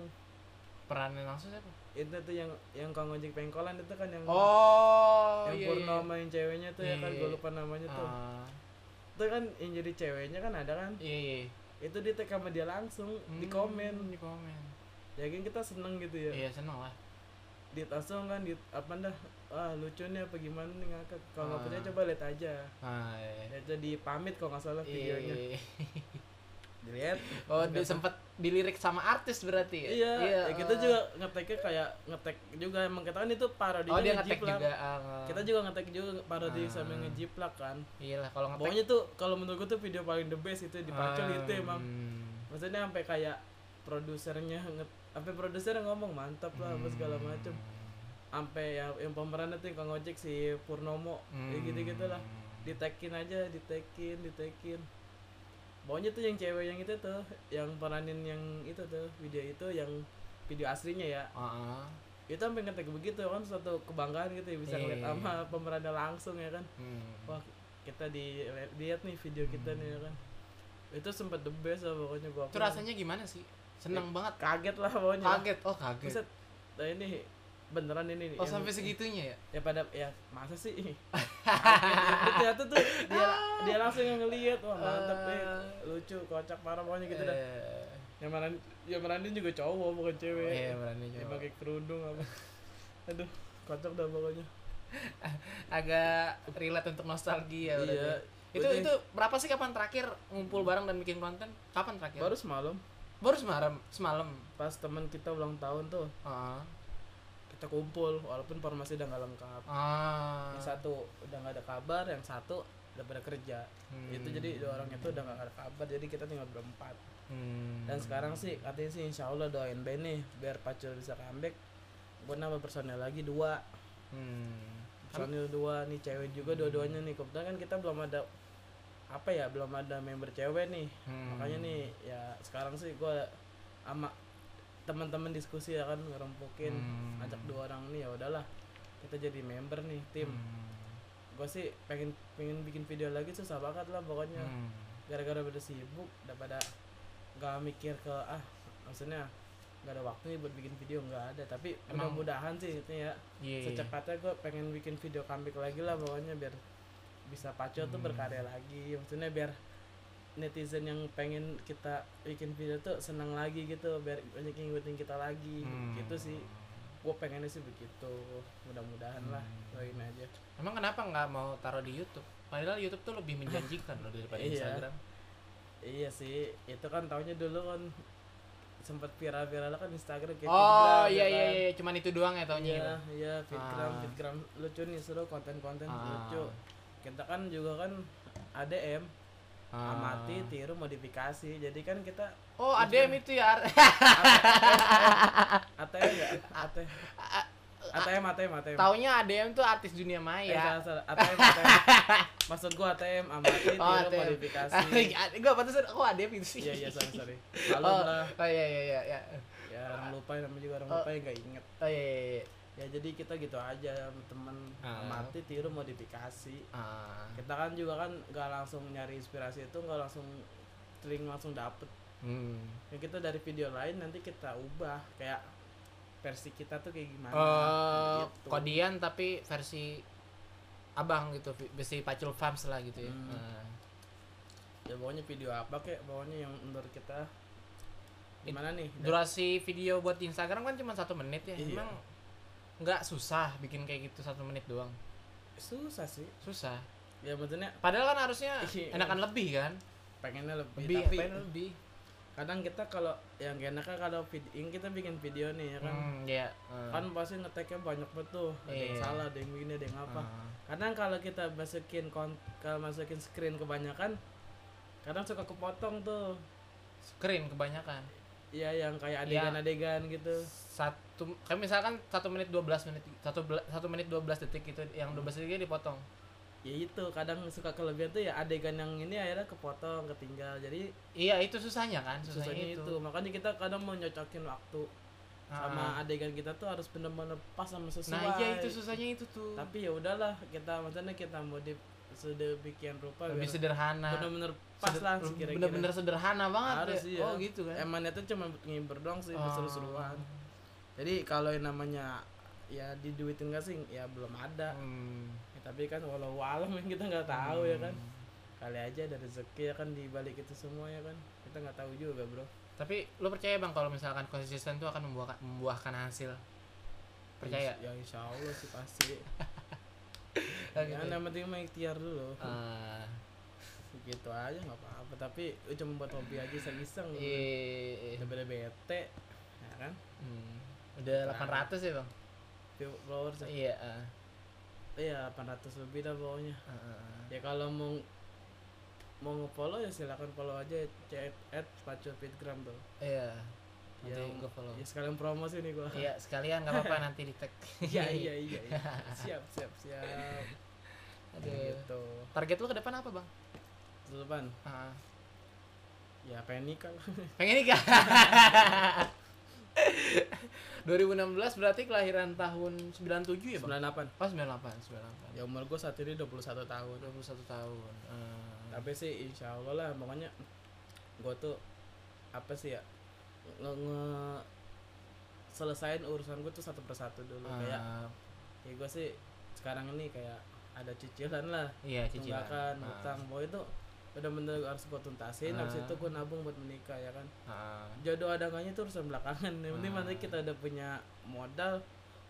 S1: peranan langsung siapa?
S2: itu tuh yang yang kang ojek pengkolan itu kan yang
S1: Oh, iya,
S2: yang
S1: iya.
S2: Purnama yang ceweknya tuh ya kan
S1: Iya,
S2: gue
S1: iya.
S2: lupa namanya tuh
S1: Ah,
S2: itu kan yang jadi ceweknya kan ada kan
S1: iya, iya.
S2: itu di tag sama dia langsung di
S1: Hmm,
S2: komen
S1: di komen.
S2: ya kan kita seneng gitu ya
S1: Iya, seneng lah.
S2: di langsung kan di apa dah ah lucu nih apa gimana nih ngakak kalau nggak
S1: Ah.
S2: percaya coba lihat aja
S1: Ah, iya.
S2: lihat aja di pamit kalau nggak salah videonya
S1: Iya.
S2: dilihat
S1: Oh,
S2: Nggak
S1: dia sempat dilirik sama artis berarti ya?
S2: iya ya,
S1: eh.
S2: kita juga ngeteknya kayak ngetek juga emang kita kan itu parodinya
S1: Oh, dia ngetek
S2: ngejiplak.
S1: juga. ah.
S2: kita juga ngetek juga parodi
S1: Ah.
S2: sambil ngejiplak kan
S1: Iya lah, kalau ngetek
S2: pokoknya tuh kalau menurut gue tuh video paling the best itu di Pacul itu emang
S1: Hmm.
S2: maksudnya sampai kayak produsernya nge- sampai produser ngomong mantap lah apa segala
S1: Hmm.
S2: macem sampai ya yang pemeran itu yang Kang Ojek si Purnomo
S1: Hmm.
S2: ya gitu gitulah ditekin aja ditekin ditekin pokoknya tuh yang cewek yang itu tuh yang peranin yang itu tuh video itu yang video aslinya ya
S1: Ah, ah.
S2: itu sampai ngetek begitu kan suatu kebanggaan gitu ya bisa
S1: Iya,
S2: ngeliat
S1: iya,
S2: sama pemerannya langsung ya kan
S1: Hmm.
S2: wah kita di lihat nih video kita nih ya kan itu sempat the best lah pokoknya gua
S1: Itu
S2: upload.
S1: rasanya gimana sih? Seneng banget.
S2: kaget lah pokoknya
S1: Kaget. Oh, kaget.
S2: Ya. Buset. Iya, nah ini beneran ini nih
S1: Oh,
S2: yang-
S1: sampai segitunya ya?
S2: ya pada ya masa sih Kaget. ternyata tuh dia dia langsung yang ngelihat wah mantep nih
S1: Ah.
S2: lucu kocak parah pokoknya gitu dah
S1: Eh,
S2: yang mana yang meranin juga cowok bukan cewek
S1: Iya, berani
S2: yang
S1: coba.
S2: pakai kerudung apa aduh kocak dah pokoknya
S1: Agak relate untuk nostalgia berarti.
S2: iya
S1: Itu
S2: Berarti
S1: itu berapa sih kapan terakhir ngumpul bareng dan bikin konten? Kapan terakhir?
S2: baru semalam
S1: Baru semalam, semalam.
S2: pas teman kita ulang tahun tuh
S1: Ah.
S2: kita kumpul walaupun formasi udah nggak lengkap
S1: Ah.
S2: yang satu udah nggak ada kabar yang satu udah pada kerja
S1: Hmm.
S2: itu jadi dua orang itu udah nggak ada kabar jadi kita tinggal berempat
S1: Hmm.
S2: dan sekarang sih katanya sih insya Allah doain Ben nih biar Pacul bisa comeback gue nambah personel lagi dua
S1: Hmm.
S2: personel dua nih cewek juga dua-duanya nih kebetulan kan kita belum ada apa ya belum ada member cewek nih
S1: Hmm.
S2: makanya nih ya sekarang sih gue sama teman-teman diskusi ya kan ngerempukin
S1: Hmm.
S2: ajak dua orang nih ya udahlah kita jadi member nih tim
S1: hmm,
S2: gue sih pengen pengen bikin video lagi susah banget lah pokoknya
S1: Hmm.
S2: gara-gara pada sibuk daripada nggak mikir ke ah maksudnya nggak ada waktu nih buat bikin video nggak ada tapi
S1: Emang-
S2: mudah-mudahan sih itu ya
S1: Iya.
S2: secepatnya gue pengen bikin video comeback lagi lah pokoknya biar bisa pacu
S1: Hmm.
S2: tuh berkarya lagi maksudnya biar netizen yang pengen kita bikin video tuh senang lagi gitu biar banyak yang ngikutin kita lagi
S1: Hmm.
S2: gitu sih gue pengennya sih begitu mudah-mudahan lah
S1: Hmm.
S2: doain aja
S1: Emang kenapa nggak mau taruh di YouTube? Padahal YouTube tuh lebih menjanjikan loh daripada
S2: Iya.
S1: Instagram.
S2: Iya sih, itu kan tahunnya dulu kan sempat viral-viral kan Instagram kayak
S1: Oh
S2: Fitgram,
S1: iya
S2: ya
S1: iya
S2: kan?
S1: iya cuman itu doang ya tahunnya.
S2: Iya,
S1: itu.
S2: iya, Fitgram,
S1: Ah.
S2: Fitgram lucu nih seru konten-konten
S1: Ah.
S2: lucu. Kita kan juga kan ADM,
S1: Ah.
S2: amati, tiru, modifikasi. Jadi kan kita
S1: Oh, ADM itu ya.
S2: Iya. ATM ya, ATM. ATM, ATM, ATM.
S1: Taunya ADM tuh artis dunia
S2: Eh,
S1: maya.
S2: salah, salah. ATM, ATM. Maksud gua ATM, amati, tiru,
S1: Oh, ATM.
S2: modifikasi.
S1: Gue pantesan, oh ADM itu sih.
S2: Iya, iya, sorry, sorry.
S1: Oh,
S2: Malum lah.
S1: oh iya iya iya, iya.
S2: Ya, orang lupa, namanya juga orang
S1: Oh.
S2: lupa ya, yang gak inget.
S1: Oh iya iya. iya.
S2: ya jadi kita gitu aja sama temen
S1: Ah.
S2: amati tiru modifikasi
S1: Ah.
S2: kita kan juga kan nggak langsung nyari inspirasi itu nggak langsung sering langsung dapet
S1: Hmm.
S2: ya kita dari video lain nanti kita ubah kayak versi kita tuh kayak gimana
S1: Oh,
S2: Ah, gitu.
S1: kodian tapi versi abang gitu, vi- versi pacul farms lah gitu ya.
S2: Hmm.
S1: Nah.
S2: ya pokoknya video apa kayak pokoknya yang menurut kita gimana nih
S1: Durasi video buat di Instagram kan cuma satu menit ya.
S2: Iya.
S1: Emang nggak susah bikin kayak gitu satu menit doang.
S2: susah sih
S1: Susah.
S2: ya maksudnya
S1: Padahal kan harusnya
S2: Iya.
S1: enakan lebih kan?
S2: pengennya lebih,
S1: Lebih,
S2: tapi
S1: pengen lebih.
S2: kadang kita kalau yang enaknya kalau vid- ini kita bikin video nih ya kan
S1: Hmm, iya. eh,
S2: kan pasti ngeteknya banyak betul tuh. ada yang
S1: Iya.
S2: salah ada yang begini ada yang apa
S1: eh.
S2: kadang kalau kita masukin kon- kalau masukin screen kebanyakan kadang suka kepotong tuh
S1: screen kebanyakan.
S2: ya yang kayak
S1: Iya.
S2: adegan-adegan gitu
S1: Satu kayak misalkan 1 menit 12 menit 1 1 menit 12 detik itu yang 12 detiknya dipotong.
S2: ya itu kadang suka kelebihan tuh ya adegan yang ini akhirnya kepotong ketinggal jadi
S1: Iya, itu susahnya kan, susahnya,
S2: susahnya itu.
S1: itu.
S2: makanya kita kadang mau nyocokin waktu
S1: Ah.
S2: sama adegan kita tuh harus bener-bener pas sama sesuai
S1: Nah, iya itu susahnya itu tuh.
S2: tapi ya udahlah kita maksudnya kita modif sedemikian rupa
S1: Lebih
S2: biar
S1: sederhana.
S2: bener-bener pas
S1: Seder-
S2: lah kira-kira
S1: Bener-bener sederhana banget.
S2: Harus,
S1: ya.
S2: iya.
S1: Oh, gitu kan.
S2: emangnya tuh cuma buat ngibur doang sih
S1: Oh.
S2: berseru-seruan jadi kalau yang namanya ya diduitin gak sih ya belum ada
S1: Hmm.
S2: Ya, tapi kan walau alam kan kita nggak tahu ya kan kali aja ada rezeki ya kan di balik itu semua ya kan kita nggak tahu juga bro
S1: Tapi lu percaya Bang kalau misalkan konsisten itu akan membuahkan, membuahkan hasil? Percaya?
S2: ya insya Allah sih pasti
S1: Oh, gitu.
S2: yang nama penting mah ikhtiar dulu
S1: Ah,
S2: gitu aja nggak apa-apa tapi eh, cuma buat hobi aja iseng-iseng
S1: iya.
S2: daripada bete ya kan
S1: Hmm. Udah 800 ya, Bang?
S2: View- followers ya.
S1: Iya, ah.
S2: iya 800 lebih dah pokoknya
S1: Ah, ah, ah.
S2: ya kalau mau mau ngefollow ya silakan follow aja at, at Pacu Fitgram tuh
S1: Iya. Nanti
S2: Yang-
S1: gue follow.
S2: ya sekalian promosi nih gua
S1: Iya, sekalian nggak apa-apa nanti di tag.
S2: iya iya iya iya. Gitu. siap siap siap
S1: Aduh.
S2: gitu
S1: Target lu ke depan apa, Bang?
S2: terus Pan,
S1: Ah.
S2: ya pengen nikah lah.
S1: Pengen nikah. 2016 berarti kelahiran tahun 97 ya, Bang?
S2: 98
S1: Oh, 98, 98.
S2: ya umur gua saat ini 21 tahun
S1: 21 tahun. Eh,
S2: tapi sih insya Allah lah pokoknya gua tuh apa sih ya nge, nge- selesain urusan gua tuh satu persatu dulu kayak
S1: eh,
S2: ya gua sih sekarang ini kayak ada cicilan lah
S1: iya, cicilan.
S2: tunggakan
S1: Ah,
S2: utang boy itu bener-bener harus gua tuntasin habis
S1: Ah.
S2: itu gua nabung buat menikah ya kan
S1: ah.
S2: jodoh ada enggaknya itu urusan belakangan yang penting
S1: Ah.
S2: nanti kita udah punya modal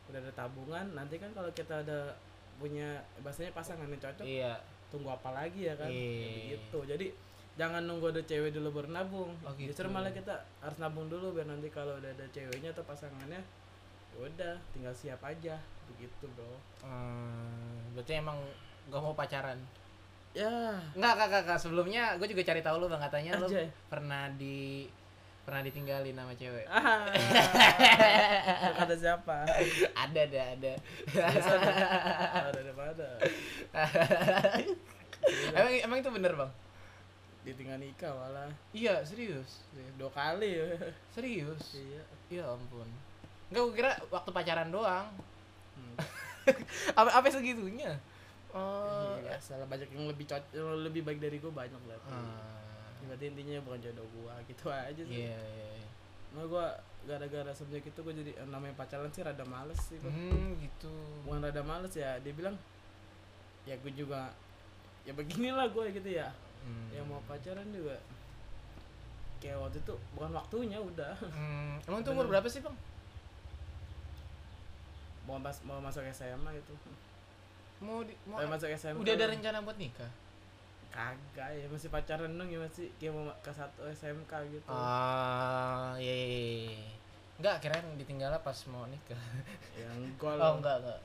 S2: udah ada tabungan nanti kan kalau kita ada punya bahasanya pasangan yang cocok
S1: Iya.
S2: tunggu apa lagi ya kan
S1: Iya.
S2: gitu jadi jangan nunggu ada cewek dulu baru nabung
S1: Oh, gitu.
S2: justru malah kita harus nabung dulu biar nanti kalau udah ada ceweknya atau pasangannya udah tinggal siap aja begitu bro
S1: Eh, berarti emang gak mau pacaran.
S2: ya
S1: Enggak, Kak, Kak, Kak. Sebelumnya gue juga cari tahu lu, Bang, katanya lu
S2: Anjay.
S1: pernah di pernah ditinggalin sama cewek.
S2: ah kata siapa
S1: ada, ada, ada.
S2: ada ada
S1: emang emang itu bener, Bang?
S2: ditinggal nikah malah
S1: Iya, serius.
S2: dua kali ya.
S1: Serius.
S2: Iya.
S1: Ya ampun. Enggak, gue kira waktu pacaran doang.
S2: Hmm.
S1: apa apa segitunya? Oh.
S2: Iya, salah banyak yang lebih cocok yang lebih baik dari gue banyak lah.
S1: Ah.
S2: Ya, Berarti intinya bukan jodoh gue gitu aja sih.
S1: Iya, iya, iya.
S2: Nah, gue gara-gara semenjak itu gue jadi eh, namanya pacaran sih rada males sih. gua.
S1: Hmm, gitu.
S2: Bukan rada males ya, dia bilang ya gue juga ya beginilah gue gitu ya.
S1: Hmm.
S2: Yang mau pacaran juga kayak waktu itu bukan waktunya udah
S1: Hmm, Emang itu umur berapa sih, Bang?
S2: mau pas mau masuk SMA gitu
S1: Mau di- mau
S2: mau masuk SMA
S1: udah ada rencana buat nikah?
S2: kagak ya masih pacaran dong ya masih kayak mau ke satu SMK gitu
S1: Ah, iya, iya, iya. Enggak, kirain ditinggalnya pas mau nikah.
S2: yang gol
S1: Oh, enggak, enggak.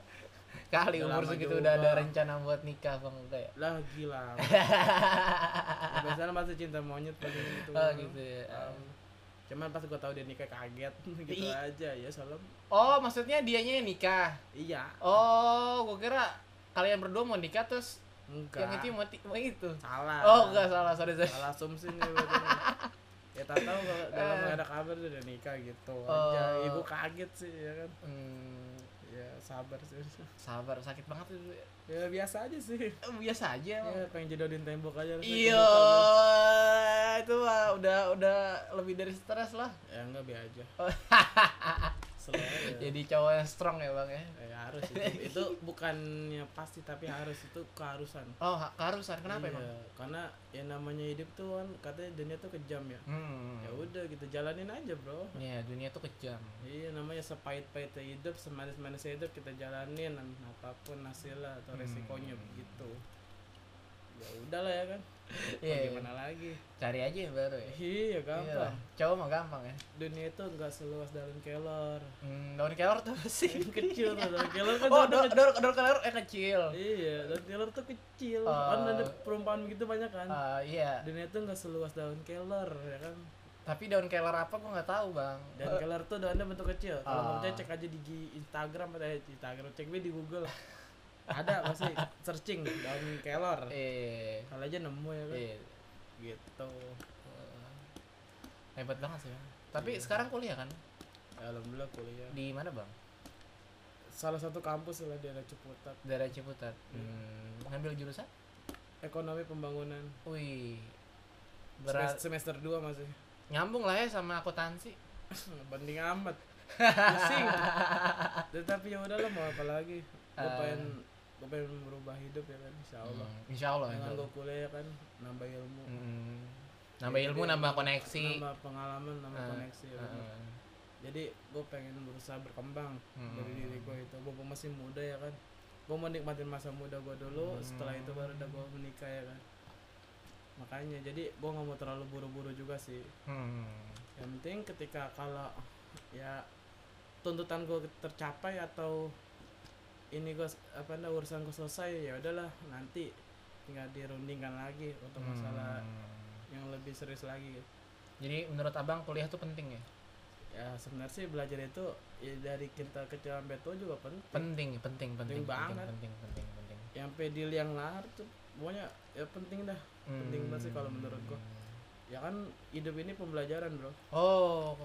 S1: Kali
S2: Udah
S1: umur
S2: lama
S1: segitu
S2: juga.
S1: udah ada rencana buat nikah, Bang, kayak.
S2: lah gila ya, biasanya masih cinta monyet paling gitu
S1: Oh, gitu ya.
S2: Um, cuman pas gua tahu dia nikah kaget gitu
S1: Ih.
S2: aja ya soalnya
S1: Oh, maksudnya dianya yang nikah.
S2: iya
S1: Oh, gua kira kalian berdua mau nikah terus yang
S2: enggak
S1: itu mau, ti- mau itu.
S2: salah
S1: Oh, enggak salah, sorry, sorry.
S2: salah asumsi nih berarti nih. ya tak tahu kalau dalam
S1: Eh.
S2: ada kabar dia udah nikah gitu
S1: Oh.
S2: aja ya, gua kaget sih ya kan
S1: Hmm,
S2: ya sabar sih
S1: sabar, sakit banget itu.
S2: ya biasa aja sih
S1: Eh, Biasa aja. Bang.
S2: ya pengen jodohin tembok aja rasanya
S1: Iya,
S2: kebuka,
S1: itu mah udah udah lebih dari stres lah.
S2: kan. ya enggak biar aja
S1: Oh.
S2: Slow aja.
S1: Jadi cowok yang strong ya bang ya.
S2: Eh, harus itu, itu bukannya pasti tapi harus itu keharusan
S1: Oh ha- keharusan kenapa
S2: Iya,
S1: emang?
S2: karena yang namanya hidup tuh kan katanya dunia tuh kejam ya
S1: Hmm.
S2: ya udah gitu jalanin aja bro
S1: Iya dunia tuh kejam.
S2: iya namanya sepahit-pahitnya hidup semanis-manisnya hidup kita jalanin apapun hasilnya atau
S1: Hmm.
S2: resikonya begitu ya udahlah ya kan
S1: Iya, iya.
S2: gimana lagi
S1: Cari aja yang baru ya.
S2: iya gampang
S1: Iyalah, Cowok mah gampang ya.
S2: dunia itu nggak seluas dalam kelor
S1: Hmm, daun kelor tuh apa sih.
S2: kecil dalam kelor kan
S1: Oh,
S2: ada
S1: daun daun daun kelor eh kecil.
S2: iya daun kelor tuh kecil
S1: Eh.
S2: kan ada perumpamaan begitu banyak kan
S1: Ah, iya.
S2: dunia itu nggak seluas daun kelor ya kan
S1: Tapi daun kelor apa gua nggak tahu, Bang.
S2: dan kelor tuh daunnya bentuk kecil
S1: Oh. Ah.
S2: kalau nggak percaya cek aja di gi- Instagram atau eh, di Instagram cek aja di Google ada pasti searching daun kelor
S1: Eh,
S2: kalau aja nemu ya kan
S1: eh,
S2: gitu
S1: hebat banget sih. Bang. Tapi
S2: Iya.
S1: sekarang kuliah kan?
S2: ya, alhamdulillah kuliah
S1: Di mana, Bang?
S2: salah satu kampus lah daerah Ciputat
S1: Daerah Ciputat.
S2: Iya.
S1: Hmm, ngambil jurusan?
S2: ekonomi pembangunan
S1: Wih.
S2: Semes-
S1: Berat
S2: semester 2 masih
S1: nyambung lah ya sama akuntansi.
S2: penting amat pusing tetapi ya udah lah mau apa lagi gue
S1: Eh.
S2: pengen gue pengen berubah hidup ya kan insya Allah
S1: Hmm, insya Allah. Insya
S2: dengan
S1: Allah.
S2: gue kuliah ya kan nambah ilmu
S1: Hmm. Nambah ilmu, nambah koneksi.
S2: nambah pengalaman nambah
S1: Eh,
S2: koneksi ya kan.
S1: Heeh.
S2: jadi gue pengen berusaha berkembang
S1: Hmm.
S2: dari diri gue itu gue masih muda ya kan gue mau nikmatin masa muda gue dulu
S1: Hmm.
S2: setelah itu baru udah gue menikah ya kan makanya jadi gue nggak mau terlalu buru-buru juga sih
S1: Hmm.
S2: yang penting ketika kalau ya tuntutan gue tercapai atau ini gue apa namanya urusan gue selesai ya udahlah nanti tinggal dirundingkan lagi untuk masalah
S1: Hmm.
S2: yang lebih serius lagi
S1: Jadi menurut abang kuliah tuh penting ya?
S2: ya sebenarnya sih belajar itu ya dari kita kecil sampai tua juga penting
S1: Penting, penting, penting,
S2: Penting banget.
S1: penting, penting, penting.
S2: yang pedil yang lahar tuh pokoknya ya penting dah Penting banget sih
S1: Hmm.
S2: kalau menurut gua. ya kan hidup ini pembelajaran bro
S1: Oh,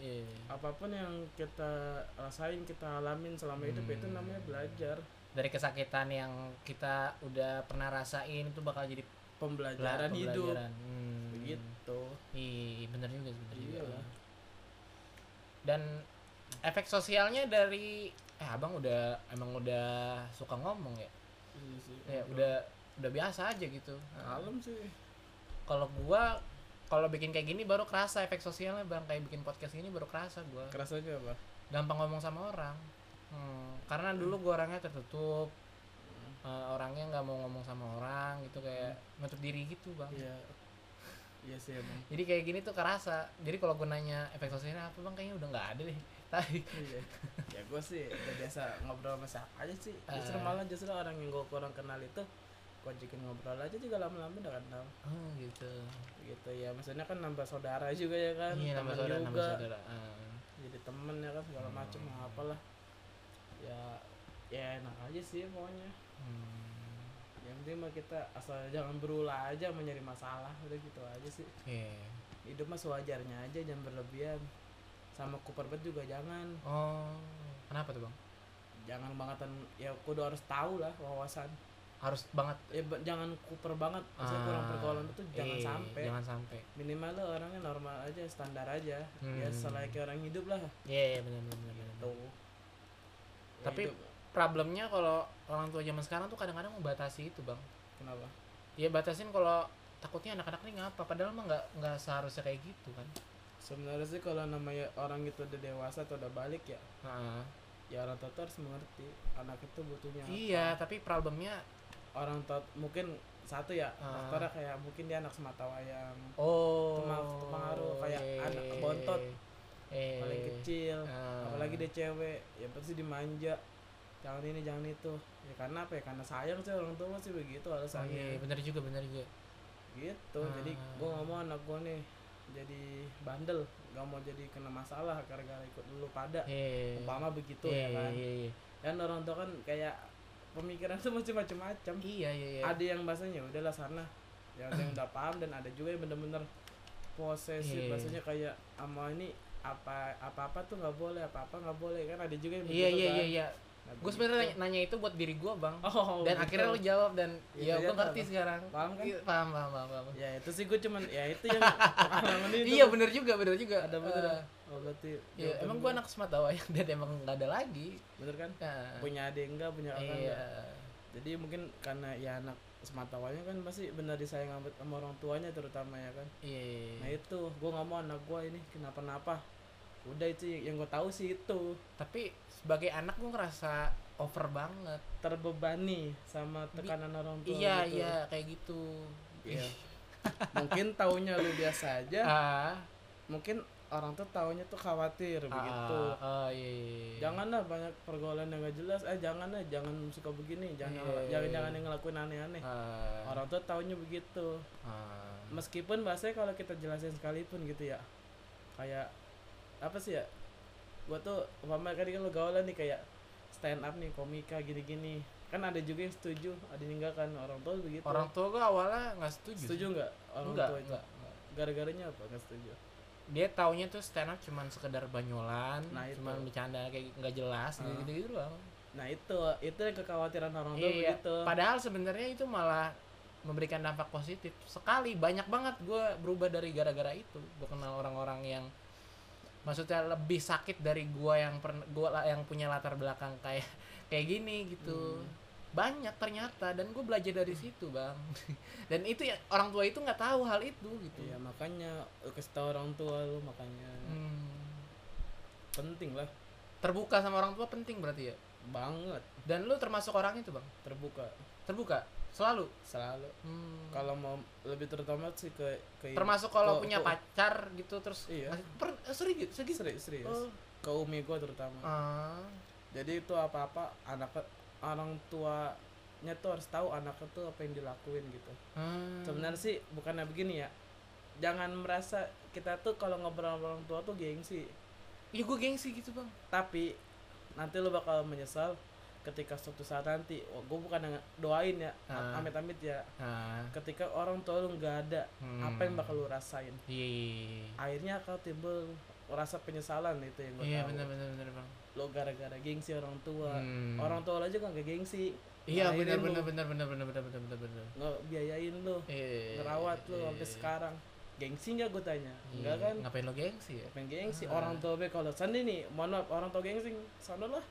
S1: iya.
S2: apapun yang kita rasain kita alamin selama hidup itu
S1: Hmm.
S2: namanya belajar
S1: Dari kesakitan yang kita udah pernah rasain itu bakal jadi
S2: pembelajaran,
S1: pelajaran
S2: hidup
S1: Hmm.
S2: begitu Iya.
S1: Iya, bener juga, bener juga.
S2: Iyalah.
S1: Dan efek sosialnya dari eh abang udah emang udah suka ngomong ya?
S2: Iya sih.
S1: Ya udah udah biasa aja gitu.
S2: Kalem sih
S1: Kalau gua kalau bikin kayak gini baru kerasa efek sosialnya bang kayak bikin podcast gini baru kerasa gua.
S2: kerasanya apa
S1: gampang ngomong sama orang Hmm, karena dulu gue orangnya tertutup Eh, orangnya nggak mau ngomong sama orang gitu kayak nutup diri gitu bang
S2: Hmm. iya iya sih emang
S1: jadi kayak gini tuh kerasa jadi kalau gue nanya efek sosialnya apa bang kayaknya udah nggak ada deh tapi
S2: iya ya gue sih udah biasa ngobrol sama siapa aja sih justru
S1: Eh.
S2: malah justru orang yang gue kurang kenal itu gue ajakin ngobrol aja juga lama-lama udah kenal
S1: oh gitu
S2: gitu ya maksudnya kan nambah saudara juga ya kan
S1: iya nama
S2: teman
S1: saudara
S2: juga
S1: nama saudara Hmm. Eh,
S2: jadi temen ya kan segala macem apalah ya ya enak aja sih pokoknya
S1: hmm,
S2: yang penting mah kita asal jangan berulah aja mencari masalah udah gitu aja sih
S1: iya.
S2: hidup mah sewajarnya aja jangan berlebihan sama kuperbet juga jangan
S1: oh kenapa tuh bang
S2: jangan bangetan ya kudu harus tahu lah wawasan
S1: harus banget
S2: ya ba- jangan kuper banget maksudnya kurang
S1: ah,
S2: pergaulan itu jangan
S1: iya,
S2: sampai
S1: jangan sampai
S2: minimal lo orangnya normal aja standar aja ya
S1: Hmm.
S2: selayaknya orang hidup lah
S1: iya iya benar benar benar, benar
S2: tuh Ya,
S1: Tapi-
S2: hidup.
S1: problemnya kalau orang tua zaman sekarang tuh kadang-kadang membatasi itu bang
S2: kenapa
S1: ya batasin kalau takutnya anak-anak nih ngapa padahal mah nggak nggak seharusnya kayak gitu kan
S2: sebenarnya sih kalau namanya orang itu udah dewasa atau udah balik ya
S1: Heeh.
S2: ya orang tua tuh harus mengerti anak itu butuhnya apa.
S1: iya tapi problemnya
S2: orang tua mungkin satu ya
S1: Ah.
S2: faktornya kayak mungkin dia anak semata wayang
S1: oh
S2: Kema- kepengaruh, kayak anak bontot,
S1: eh,
S2: paling kecil
S1: ah.
S2: apalagi dia cewek ya pasti dimanja jangan ini jangan itu ya karena apa ya karena sayang sih orang tua sih begitu
S1: Oh, iya,
S2: alasannya
S1: bener juga bener juga
S2: gitu
S1: Ah.
S2: jadi gue ngomong anak gue nih jadi bandel gak mau jadi kena masalah gara-gara ikut dulu pada
S1: eh
S2: umpama begitu
S1: iya,
S2: ya kan
S1: iya, iya.
S2: dan orang tua kan kayak pemikiran tuh masih macam-macam
S1: iya iya iya
S2: ada yang bahasanya udahlah sana ya ada yang udah paham dan ada juga yang bener-bener posesif
S1: Iya.
S2: bahasanya kayak ama ini apa apa apa tuh nggak boleh apa apa nggak boleh kan ada juga
S1: iya
S2: yang begitu,
S1: iya
S2: kan?
S1: iya iya
S2: Nah,
S1: gue
S2: begitu.
S1: sebenarnya nanya, nanya itu buat diri gue bang
S2: oh,
S1: dan
S2: begitu.
S1: akhirnya lo jawab dan
S2: Iya,
S1: ya, gue
S2: ternyata
S1: ngerti
S2: apa?
S1: sekarang
S2: Paham kan?
S1: Iya, paham paham paham, paham.
S2: ya itu sih gue cuman ya itu yang pengalaman itu
S1: iya bener juga bener juga
S2: ada bener
S1: Eh,
S2: dah. oh berarti
S1: Iya,
S2: jawaban
S1: emang
S2: bener.
S1: gua anak semata wayang dan emang nggak ada lagi.
S2: bener kan
S1: Nah,
S2: punya adik enggak punya kakak
S1: iya.
S2: enggak jadi mungkin karena ya anak semata wayang kan masih benar disayang sama- sama orang tuanya terutama ya kan
S1: Iya.
S2: Nah itu, gue nggak mau anak gue ini kenapa-napa. Udah itu yang gue tahu sih itu.
S1: Tapi sebagai anak gua ngerasa over banget
S2: terbebani sama tekanan orang tua
S1: iya
S2: gitu.
S1: iya kayak gitu
S2: Iya. Ya. mungkin taunya lu biasa aja
S1: ah
S2: mungkin orang tuh taunya tuh khawatir begitu
S1: ah, ah, iya, iya, iya.
S2: janganlah banyak pergaulan yang gak jelas eh janganlah jangan suka begini jangan
S1: Iya, iya,
S2: jangan
S1: iya.
S2: jangan yang ngelakuin aneh-aneh
S1: Ah,
S2: orang tuh taunya begitu
S1: ah.
S2: meskipun bahasanya kalau kita jelasin sekalipun gitu ya kayak apa sih ya gua tuh umpama kan lu gaulan nih kayak stand up nih komika gini-gini kan ada juga yang setuju ada yang enggak kan orang tua begitu
S1: orang tua gue awalnya nggak setuju
S2: setuju
S1: sih.
S2: nggak orang
S1: Enggak,
S2: tua itu
S1: enggak, enggak.
S2: gara-garanya apa nggak setuju
S1: dia taunya tuh stand up cuman sekedar banyolan
S2: Nah, itu.
S1: cuman bercanda kayak nggak jelas
S2: Ah.
S1: gitu gitu doang
S2: nah itu itu yang kekhawatiran orang tua
S1: Iya,
S2: begitu
S1: padahal sebenarnya itu malah memberikan dampak positif sekali banyak banget gue berubah dari gara-gara itu gue kenal orang-orang yang maksudnya lebih sakit dari gue yang pernah gua la- yang punya latar belakang kayak kayak gini gitu banyak ternyata dan gue belajar dari situ bang dan itu ya orang tua itu nggak tahu hal itu gitu
S2: iya makanya lu kasih tau orang tua lu makanya
S1: Hmm.
S2: penting lah
S1: terbuka sama orang tua penting berarti ya
S2: banget
S1: dan lu termasuk orang itu bang
S2: terbuka
S1: terbuka selalu
S2: selalu
S1: Hmm.
S2: kalau mau lebih terutama sih ke, ke
S1: termasuk kalau
S2: ke-
S1: punya
S2: ke-
S1: pacar gitu terus
S2: Iya.
S1: masih- per, eh, serius serius
S2: serius serius
S1: Oh.
S2: ke umi gue terutama
S1: Ah.
S2: jadi itu apa apa anak orang tuanya tuh harus tahu anaknya tuh apa yang dilakuin gitu
S1: Hmm.
S2: sebenarnya sih bukannya begini ya jangan merasa kita tuh kalau ngobrol sama orang tua tuh gengsi
S1: ya gue gengsi gitu bang
S2: tapi nanti lo bakal menyesal ketika suatu saat nanti gue bukan yang doain ya
S1: Ah.
S2: amit-amit ya
S1: ah.
S2: ketika orang tua lu nggak ada apa yang
S1: Hmm.
S2: bakal lu rasain
S1: iya
S2: akhirnya kau timbul rasa penyesalan itu yang gue
S1: iya
S2: tahu
S1: benar benar benar bang
S2: lo gara-gara gengsi orang tua
S1: Hmm.
S2: orang tua lo aja nggak gengsi
S1: iya
S2: Ngelahirin
S1: benar
S2: lu,
S1: benar benar benar benar benar benar benar benar
S2: ngebiayain lo
S1: Eh,
S2: ngerawat lo
S1: eh,
S2: sampai sekarang gengsi nggak gue tanya
S1: iya.
S2: enggak kan
S1: ngapain lo gengsi ya
S2: pengen gengsi
S1: Ah.
S2: orang tua be kalau sandi nih mohon maaf orang tua gengsi sana lah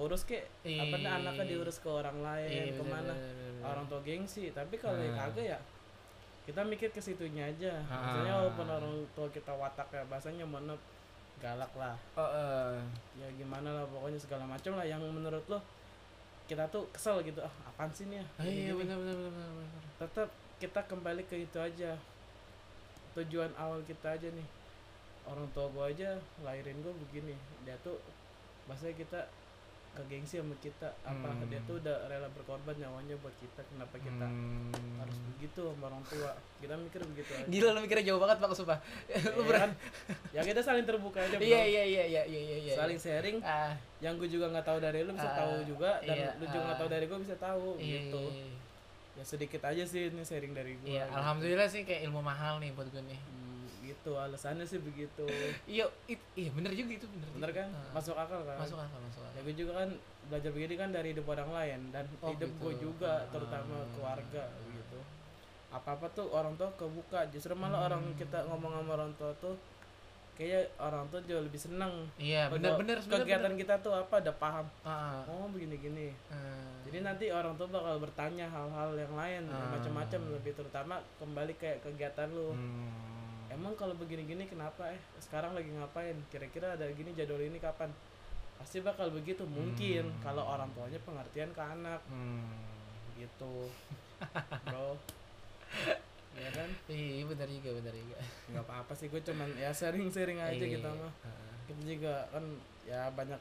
S2: urus ke apa nih
S1: Ih.
S2: anaknya diurus ke orang lain
S1: Iya. benar,
S2: kemana
S1: benar, benar, benar.
S2: orang tua gengsi tapi kalau yang
S1: Ah.
S2: kagak ya kita mikir ke situnya aja maksudnya
S1: Ah.
S2: walaupun orang tua kita wataknya bahasanya mohon maaf, galak lah
S1: Oh, eh.
S2: ya gimana lah pokoknya segala macam lah yang menurut lo kita tuh kesel gitu ah apaan sih nih ya
S1: Ah, iya
S2: Gini-gini.
S1: benar benar benar benar, benar.
S2: tetap kita kembali ke itu aja tujuan awal kita aja nih orang tua gua aja lahirin gua begini dia tuh maksudnya kita ke gengsi sama kita apa
S1: Hmm.
S2: dia tuh udah rela berkorban nyawanya buat kita kenapa kita
S1: Hmm.
S2: harus begitu sama orang tua kita mikir begitu aja
S1: Gila lu mikirnya jauh banget Bang sumpah. Gitu, lu
S2: Ya
S1: berat.
S2: kan? ya kita saling terbuka aja
S1: Iya
S2: bro.
S1: iya iya iya iya iya, iya.
S2: saling sharing
S1: ah
S2: yang gue juga nggak tahu dari lu bisa
S1: Ah,
S2: tahu juga dan
S1: iya,
S2: lu juga nggak
S1: ah.
S2: tahu dari gue bisa tahu
S1: gitu.
S2: gitu ya sedikit aja sih ini sharing dari gitu. gue
S1: Iya, alhamdulillah sih kayak ilmu mahal nih buat gue nih.
S2: Hmm, gitu alasannya sih begitu
S1: Iya, it- iya bener juga itu bener.
S2: bener
S1: juga.
S2: kan
S1: Ah,
S2: masuk akal kan
S1: masuk akal, masuk
S2: ya
S1: akal.
S2: gue juga kan belajar begini kan dari hidup orang lain dan
S1: Oh,
S2: hidup
S1: gitu.
S2: gue juga
S1: Ah.
S2: terutama keluarga gitu apa apa tuh orang tua kebuka justru
S1: Hmm.
S2: malah orang kita ngomong sama orang tua tuh kayaknya orang tua jauh lebih seneng
S1: Iya,
S2: Kalau
S1: bener bener sebenarnya
S2: kegiatan
S1: bener.
S2: kita tuh apa udah paham
S1: Ah,
S2: oh begini gini
S1: ah.
S2: jadi nanti orang tua bakal bertanya hal-hal yang lain yang
S1: Ah.
S2: macam-macam lebih terutama kembali kayak kegiatan lu
S1: Hmm.
S2: Emang kalau begini-gini kenapa eh? Sekarang lagi ngapain? Kira-kira ada gini jadwal ini kapan? Pasti bakal begitu mungkin kalau orang tuanya pengertian ke anak
S1: Hmm.
S2: gitu. Bro. ya kan?
S1: Iya, bener juga, bener juga.
S2: nggak apa-apa sih gue cuman ya sharing-sharing aja
S1: Iya.
S2: kita mah.
S1: Ah.
S2: Kita juga kan ya banyak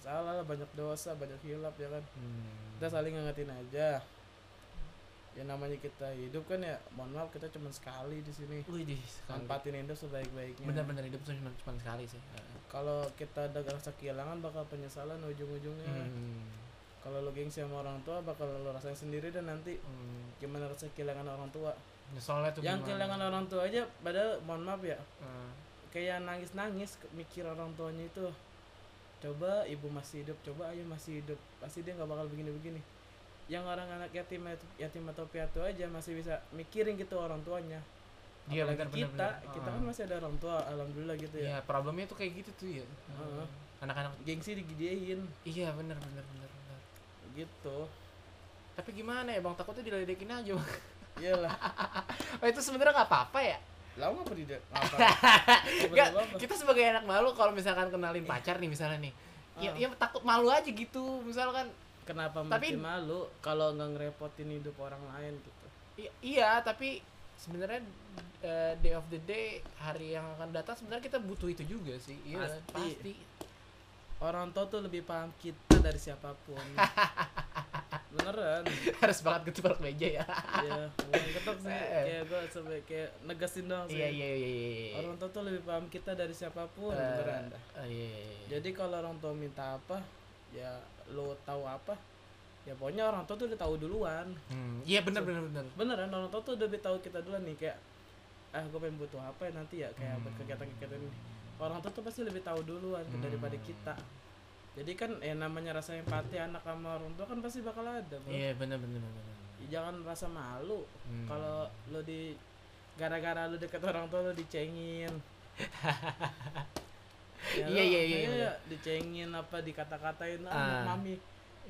S2: salah, banyak dosa, banyak hilap ya kan.
S1: Hmm.
S2: Kita saling ngingetin aja. Ya namanya kita hidup kan ya, mohon maaf kita cuman sekali di sini.
S1: Wih, di
S2: Manfaatin hidup sebaik-baiknya.
S1: bener-bener hidup tuh cuma cuma sekali sih. Ah.
S2: kalau kita udah ngerasa kehilangan bakal penyesalan ujung-ujungnya
S1: Hmm.
S2: kalau lo gengsi sama orang tua bakal lo rasain sendiri dan nanti
S1: Hmm.
S2: gimana rasa kehilangan orang tua
S1: Nyeselnya tuh
S2: yang
S1: gimana.
S2: kehilangan orang tua aja padahal mohon maaf ya
S1: Ah.
S2: kayak nangis-nangis ke- mikir orang tuanya itu coba ibu masih hidup coba ayah masih hidup pasti dia nggak bakal begini-begini yang orang anak yatim yatim atau piatu aja masih bisa mikirin gitu orang tuanya
S1: Iya,
S2: Apalagi
S1: bener-bener.
S2: kita
S1: bener.
S2: kita
S1: Ah.
S2: kan masih ada orang tua alhamdulillah gitu ya
S1: Iya, problemnya tuh kayak gitu tuh ya.
S2: Heeh.
S1: Anak-anak
S2: gengsi digedein
S1: iya benar benar benar benar.
S2: gitu
S1: Tapi gimana ya Bang takutnya diledekin aja. Bang.
S2: iyalah
S1: Oh, itu sebenarnya nggak apa-apa ya.
S2: Lah ngapa tidak? Ngapa?
S1: Nggak, kita sebagai anak malu kalau misalkan kenalin pacar nih misalnya nih.
S2: Ah.
S1: ya, ya takut malu aja gitu misalkan
S2: Kenapa
S1: Tapi-
S2: mesti malu kalau nggak ngerepotin hidup orang lain gitu?
S1: i- iya tapi sebenarnya eh, day of the day hari yang akan datang sebenarnya kita butuh itu juga sih iya
S2: Pasti.
S1: pasti,
S2: Orang tua tuh lebih paham kita dari siapapun. Beneran.
S1: harus banget ketebak meja ya
S2: Iya, bukan ketok sih.
S1: Eh.
S2: Kayak gue sampai kayak negesin doang sih.
S1: iya iya iya iya
S2: Orang tua tuh lebih paham kita dari siapapun,
S1: Eh,
S2: beneran dah.
S1: eh, iya iya, iya.
S2: Jadi kalau orang tua minta apa, ya lo tahu apa? Ya pokoknya orang tua tuh udah tahu duluan.
S1: Hmm, iya benar benar benar
S2: Beneran orang tua tuh udah lebih tahu kita duluan nih kayak ah gue pengen butuh apa ya nanti ya kayak
S1: Hmm.
S2: buat kegiatan-kegiatan ini. Orang tua tuh pasti lebih tahu duluan tuh daripada
S1: Hmm.
S2: kita. Jadi kan ya namanya rasa empati anak sama orang tua kan pasti bakal ada, bro.
S1: iya benar benar benar benar.
S2: Jangan rasa malu
S1: Hmm.
S2: kalau lo di gara-gara lo deket orang tua lo dicengin Ya
S1: Iya,
S2: lo-
S1: iya, iya, iya.
S2: dicengin apa dikata-katain ah,
S1: Ah.
S2: mami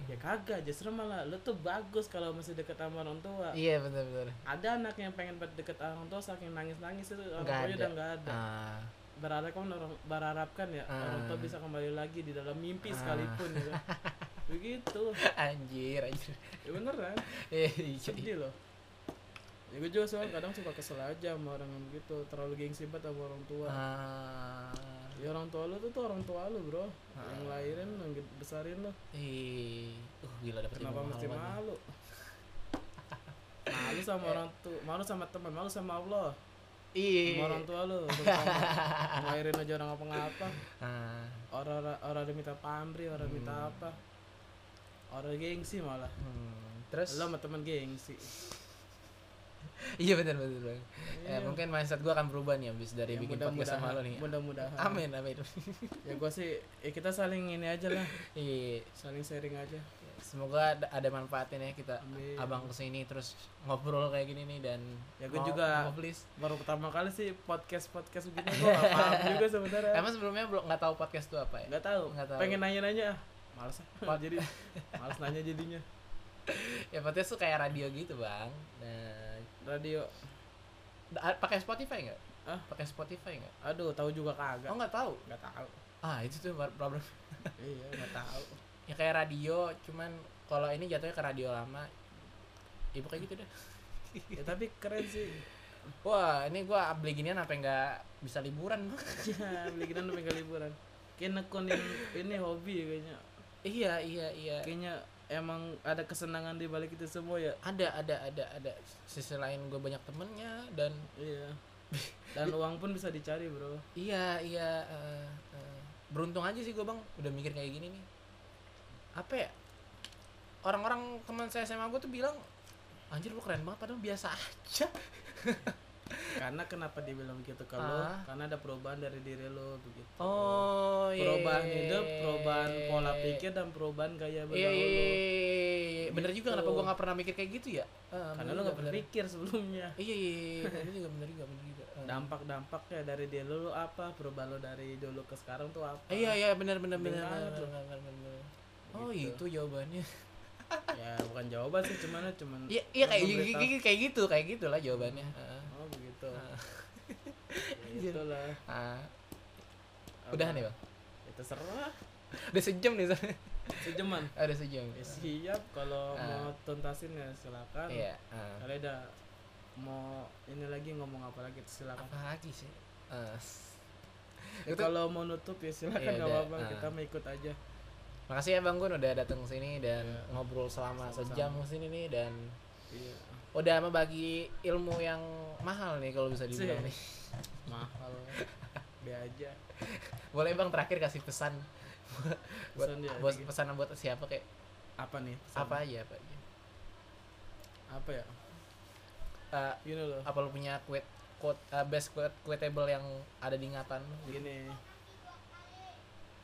S2: ya kagak justru malah lo tuh bagus kalau masih deket sama orang tua
S1: iya benar benar
S2: ada anak yang pengen ber- deket sama orang tua saking nangis-nangis itu orang
S1: Nggak
S2: tuanya
S1: ada.
S2: udah nggak ada
S1: ah
S2: berharap kan orang berharapkan ya orang tua
S1: Ah.
S2: bisa kembali lagi di dalam mimpi
S1: Ah.
S2: sekalipun gitu. begitu
S1: anjir anjir
S2: ya beneran
S1: Eh, iya, iya.
S2: sedih loh ya gue juga soalnya kadang suka kesel aja sama orang yang begitu terlalu gengsi banget sama orang tua
S1: Ah,
S2: ya orang tua lu tuh, tuh orang tua lu bro yang lahirin yang ged- besarin lu
S1: ih, uh gila dapet
S2: kenapa
S1: ilmu
S2: mesti
S1: pengetahuan nih.
S2: malu malu sama orang tua malu sama teman malu sama Allah sama
S1: Iya.
S2: orang tua lu terutama. ngelahirin aja orang apa-apa
S1: Ah,
S2: orang orang yang minta pamri orang minta apa orang gengsi malah
S1: hmm, Terus, Eh,
S2: lo sama temen gengsi
S1: iya benar benar benar.
S2: Iya.
S1: Eh, mungkin mindset gua akan berubah nih abis dari
S2: Ya,
S1: bikin podcast sama lo
S2: mudah-mudahan
S1: nih.
S2: mudah-mudahan
S1: Amin amin.
S2: ya gue sih ya kita saling ini aja lah
S1: Iya.
S2: saling sharing aja
S1: Semoga ada- ada manfaatnya ya kita
S2: Amin.
S1: abang kesini terus ngobrol kayak gini nih dan
S2: Iya. Ya, gua
S1: mau-
S2: juga-
S1: mau please.
S2: baru pertama kali sih podcast podcast begini gue gak paham juga sebenarnya
S1: Emang sebelumnya belum nggak tahu podcast tuh apa ya?
S2: nggak tahu
S1: Nggak tahu.
S2: pengen nanya nanya males ah
S1: Pod-
S2: jadi males nanya jadinya
S1: Ya podcast tuh kayak radio gitu bang. Nah,
S2: radio
S1: da- pakai Spotify nggak?
S2: Ah.
S1: Pakai Spotify nggak?
S2: aduh tahu juga
S1: Oh
S2: kagak
S1: nggak tahu.
S2: nggak tahu
S1: Ah itu tuh bar- problem.
S2: iya nggak tahu
S1: Ya kayak radio, cuman kalau ini jatuhnya ke radio lama. Ibu kayak gitu deh.
S2: ya tapi keren sih
S1: Wah, ini gua beli ginian apa nggak bisa liburan? Bang?
S2: ya beli gini dulu pengen liburan kayak nekunin ini hobi ya kayaknya
S1: iya, iya, iya.
S2: kayaknya emang ada kesenangan di balik itu semua ya
S1: Ada, ada, ada, ada. Sisi lain gua banyak temennya dan
S2: iya dan uang pun bisa dicari bro
S1: iya, iya. eh, eh. beruntung aja sih gua bang, udah mikir kayak gini nih. Apa ya? Orang-orang teman saya SMA gua tuh bilang, anjir lu keren banget, padahal biasa aja.
S2: karena kenapa dibilang begitu ke lo?
S1: Ah.
S2: karena ada perubahan dari diri lo begitu
S1: Oh, iya.
S2: perubahan hidup, perubahan pola pikir dan perubahan
S1: Iya,
S2: gaya bergaul
S1: iya,
S2: lo.
S1: iya, iya. Bener juga
S2: Gitu.
S1: kenapa gua nggak pernah mikir kayak gitu ya? Eh,
S2: Karena
S1: bener
S2: lo
S1: juga,
S2: gak
S1: bener.
S2: berpikir sebelumnya.
S1: Iya, iya, iya, bener juga, bener juga, bener juga.
S2: Nah.
S1: Eh.
S2: Dampak-dampaknya dari dia lo apa? Perubahan lo dari dulu ke sekarang tuh apa?
S1: Iya iya benar benar
S2: Penting
S1: benar benar
S2: banget
S1: benar,
S2: loh.
S1: benar benar. Oh
S2: Gitu.
S1: itu jawabannya.
S2: Ya bukan jawaban sih, cuman cuman.
S1: Iya iya
S2: lo
S1: kayak
S2: memberitahu.
S1: kayak kayak gitu kayak gitulah jawabannya. Heeh.
S2: Oh begitu.
S1: Nah.
S2: Ya, Itulah.
S1: Ah, udah nih bang.
S2: Ya terserah.
S1: Udah sejam nih soalnya.
S2: Sejaman.
S1: Ah, Udah sejam.
S2: Ya, siap kalau
S1: Ah.
S2: mau tuntasin ya silakan.
S1: Iya. ah.
S2: Kalau ada mau ini lagi ngomong apa lagi silakan.
S1: Apa lagi sih? Ah, s- Ah,
S2: Ya,
S1: Itu-
S2: kalau mau nutup ya silakan
S1: Iya,
S2: nggak
S1: udah.
S2: apa-apa
S1: Ah.
S2: kita mau ikut aja.
S1: Makasih ya Bang Gun udah datang sini dan
S2: Iya.
S1: ngobrol selama
S2: Sama-sama.
S1: sejam sini nih dan
S2: Iya.
S1: udah membagi ilmu yang mahal nih kalau bisa dibilang
S2: Sih.
S1: nih.
S2: Mahal. Be aja.
S1: Boleh Bang terakhir kasih pesan buat
S2: Pesan dia.
S1: buat pesan buat siapa kayak
S2: apa nih? pesan?
S1: apa aja apa aja.
S2: Apa ya?
S1: Eh,
S2: Gini loh.
S1: apa lu punya quote quote uh, best quote quotable yang ada di ingatan lu?
S2: Gini.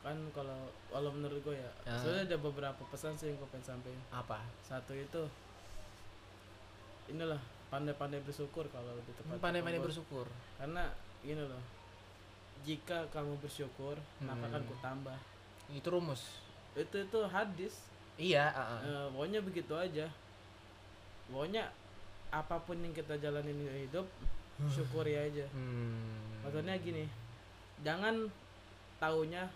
S2: Kan kalau kalau menurut gue ya,
S1: Ah.
S2: sebenarnya ada beberapa pesan sih yang gue pengen sampaikan.
S1: apa
S2: Satu itu inilah pandai-pandai bersyukur kalau lebih tepat.
S1: pandai-pandai
S2: Kalau-
S1: bersyukur
S2: Karena gini loh. Jika kamu bersyukur, maka akan
S1: Hmm.
S2: kutambah.
S1: itu rumus
S2: Itu itu hadis.
S1: iya ah, ah.
S2: Eh, pokoknya begitu aja pokoknya apapun yang kita jalanin di hidup
S1: Ah.
S2: syukuri aja
S1: Hmm.
S2: maksudnya gini jangan taunya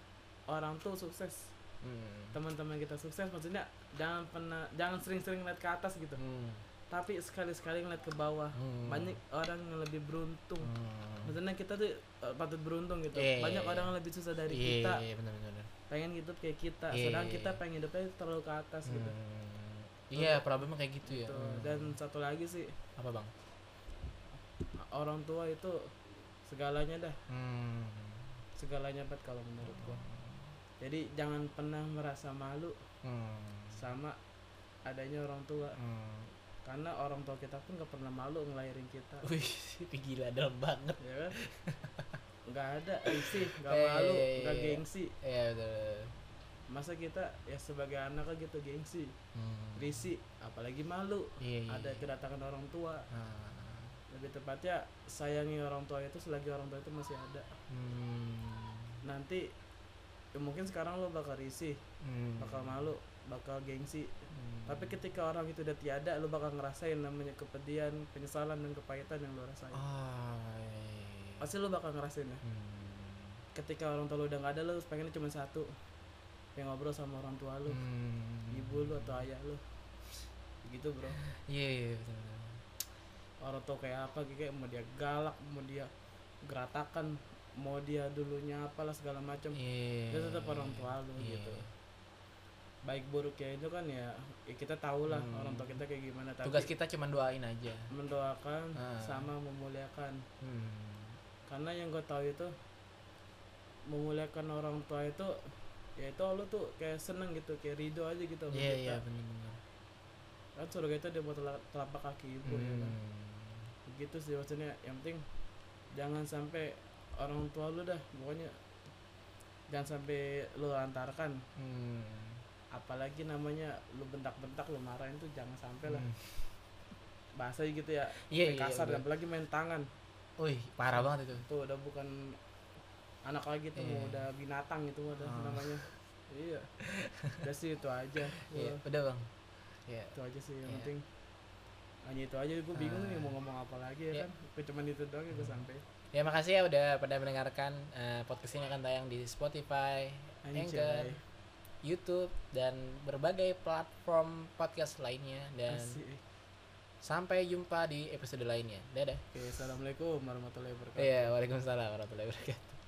S2: orang tuh sukses
S1: Hmm.
S2: teman-teman kita sukses maksudnya jangan pernah jangan sering-sering lihat ke atas gitu
S1: Hmm.
S2: tapi sekali-sekali ngeliat ke bawah
S1: Hmm.
S2: banyak orang yang lebih beruntung
S1: Hmm.
S2: maksudnya kita tuh eh, patut beruntung gitu
S1: Iya, iya,
S2: banyak
S1: iya.
S2: orang yang lebih susah dari
S1: Iya,
S2: kita
S1: iya, benar benar. benar.
S2: pengen hidup kayak kita
S1: Iya,
S2: sedangkan
S1: iya,
S2: kita
S1: iya.
S2: pengen hidupnya terlalu ke atas gitu
S1: Hmm. Iya, problemnya kayak gitu ya.
S2: Tuh.
S1: Hmm.
S2: dan satu lagi sih
S1: apa, Bang?
S2: orang tua itu segalanya dah
S1: Hmm.
S2: segalanya bet kalau menurut gua jadi jangan pernah merasa malu
S1: Hmm.
S2: sama adanya orang tua
S1: Hmm.
S2: karena orang tua kita pun gak pernah malu ngelahirin kita
S1: Wih, gila dalam banget.
S2: ya kan nggak ada sih nggak
S1: Eh,
S2: malu
S1: iya, iya,
S2: nggak
S1: iya.
S2: gengsi
S1: Iya, betul, betul.
S2: masa kita ya sebagai anak kan gitu gengsi
S1: Hmm.
S2: risih apalagi malu
S1: Iya, iya.
S2: ada kedatangan orang tua
S1: Ah.
S2: lebih tepatnya sayangi orang tua itu selagi orang tua itu masih ada
S1: Hmm.
S2: nanti ya mungkin sekarang lo bakal risih
S1: Hmm.
S2: bakal malu bakal gengsi
S1: Hmm.
S2: tapi ketika orang itu udah tiada lo bakal ngerasain namanya kepedihan penyesalan dan kepahitan yang lo rasain
S1: Ah, iya.
S2: pasti lo bakal ngerasain ya
S1: Hmm.
S2: ketika orang tua lo udah nggak ada lo pengennya cuma satu yang ngobrol sama orang tua lo
S1: Hmm.
S2: ibu lo atau ayah lo gitu bro
S1: Iya, iya, betul, betul.
S2: orang tua kayak apa gitu, kayak mau dia galak mau dia geratakan mau dia dulunya apalah segala macam
S1: Iya.
S2: dia tetap orang tua lo
S1: Iya.
S2: gitu baik buruknya itu kan ya, ya kita tahu lah
S1: Hmm.
S2: orang tua kita kayak gimana tapi
S1: Tugas kita cuma doain aja.
S2: mendoakan
S1: Ah.
S2: sama memuliakan
S1: Hmm.
S2: karena yang gue tahu itu memuliakan orang tua itu ya itu lo tuh kayak seneng gitu kayak ridho aja gitu sama
S1: Iya,
S2: kita.
S1: iya, benar-benar.
S2: kan surga itu di bawah tela- telapak kaki ibu ya kan
S1: Hmm.
S2: begitu sih maksudnya yang penting jangan sampai orang tua lu dah pokoknya jangan sampai lu antarkan
S1: Hmm.
S2: apalagi namanya lu bentak-bentak lu marahin tuh jangan sampai lah
S1: Hmm.
S2: bahasa gitu ya
S1: Iya, iya,
S2: main kasar
S1: iya.
S2: apalagi main tangan
S1: Wih, parah banget itu.
S2: tuh udah bukan anak lagi tuh mau
S1: Iya.
S2: udah binatang gitu udah
S1: Ah.
S2: namanya iya udah sih itu aja
S1: Iya,
S2: Gua-
S1: udah, Bang. Iya.
S2: itu aja sih yang
S1: Iya.
S2: penting hanya itu aja gue bingung
S1: Ah.
S2: nih mau ngomong apa lagi ya
S1: Iya.
S2: kan Gua cuman itu doang ya gue sampai
S1: Ya makasih ya udah pada mendengarkan Eh, podcast ini akan tayang di Spotify, Anchor,
S2: Anjay.
S1: YouTube dan berbagai platform podcast lainnya dan
S2: Asik.
S1: sampai jumpa di episode lainnya. Dadah.
S2: Oke, assalamualaikum warahmatullahi wabarakatuh.
S1: Iya, Waalaikumsalam warahmatullahi wabarakatuh.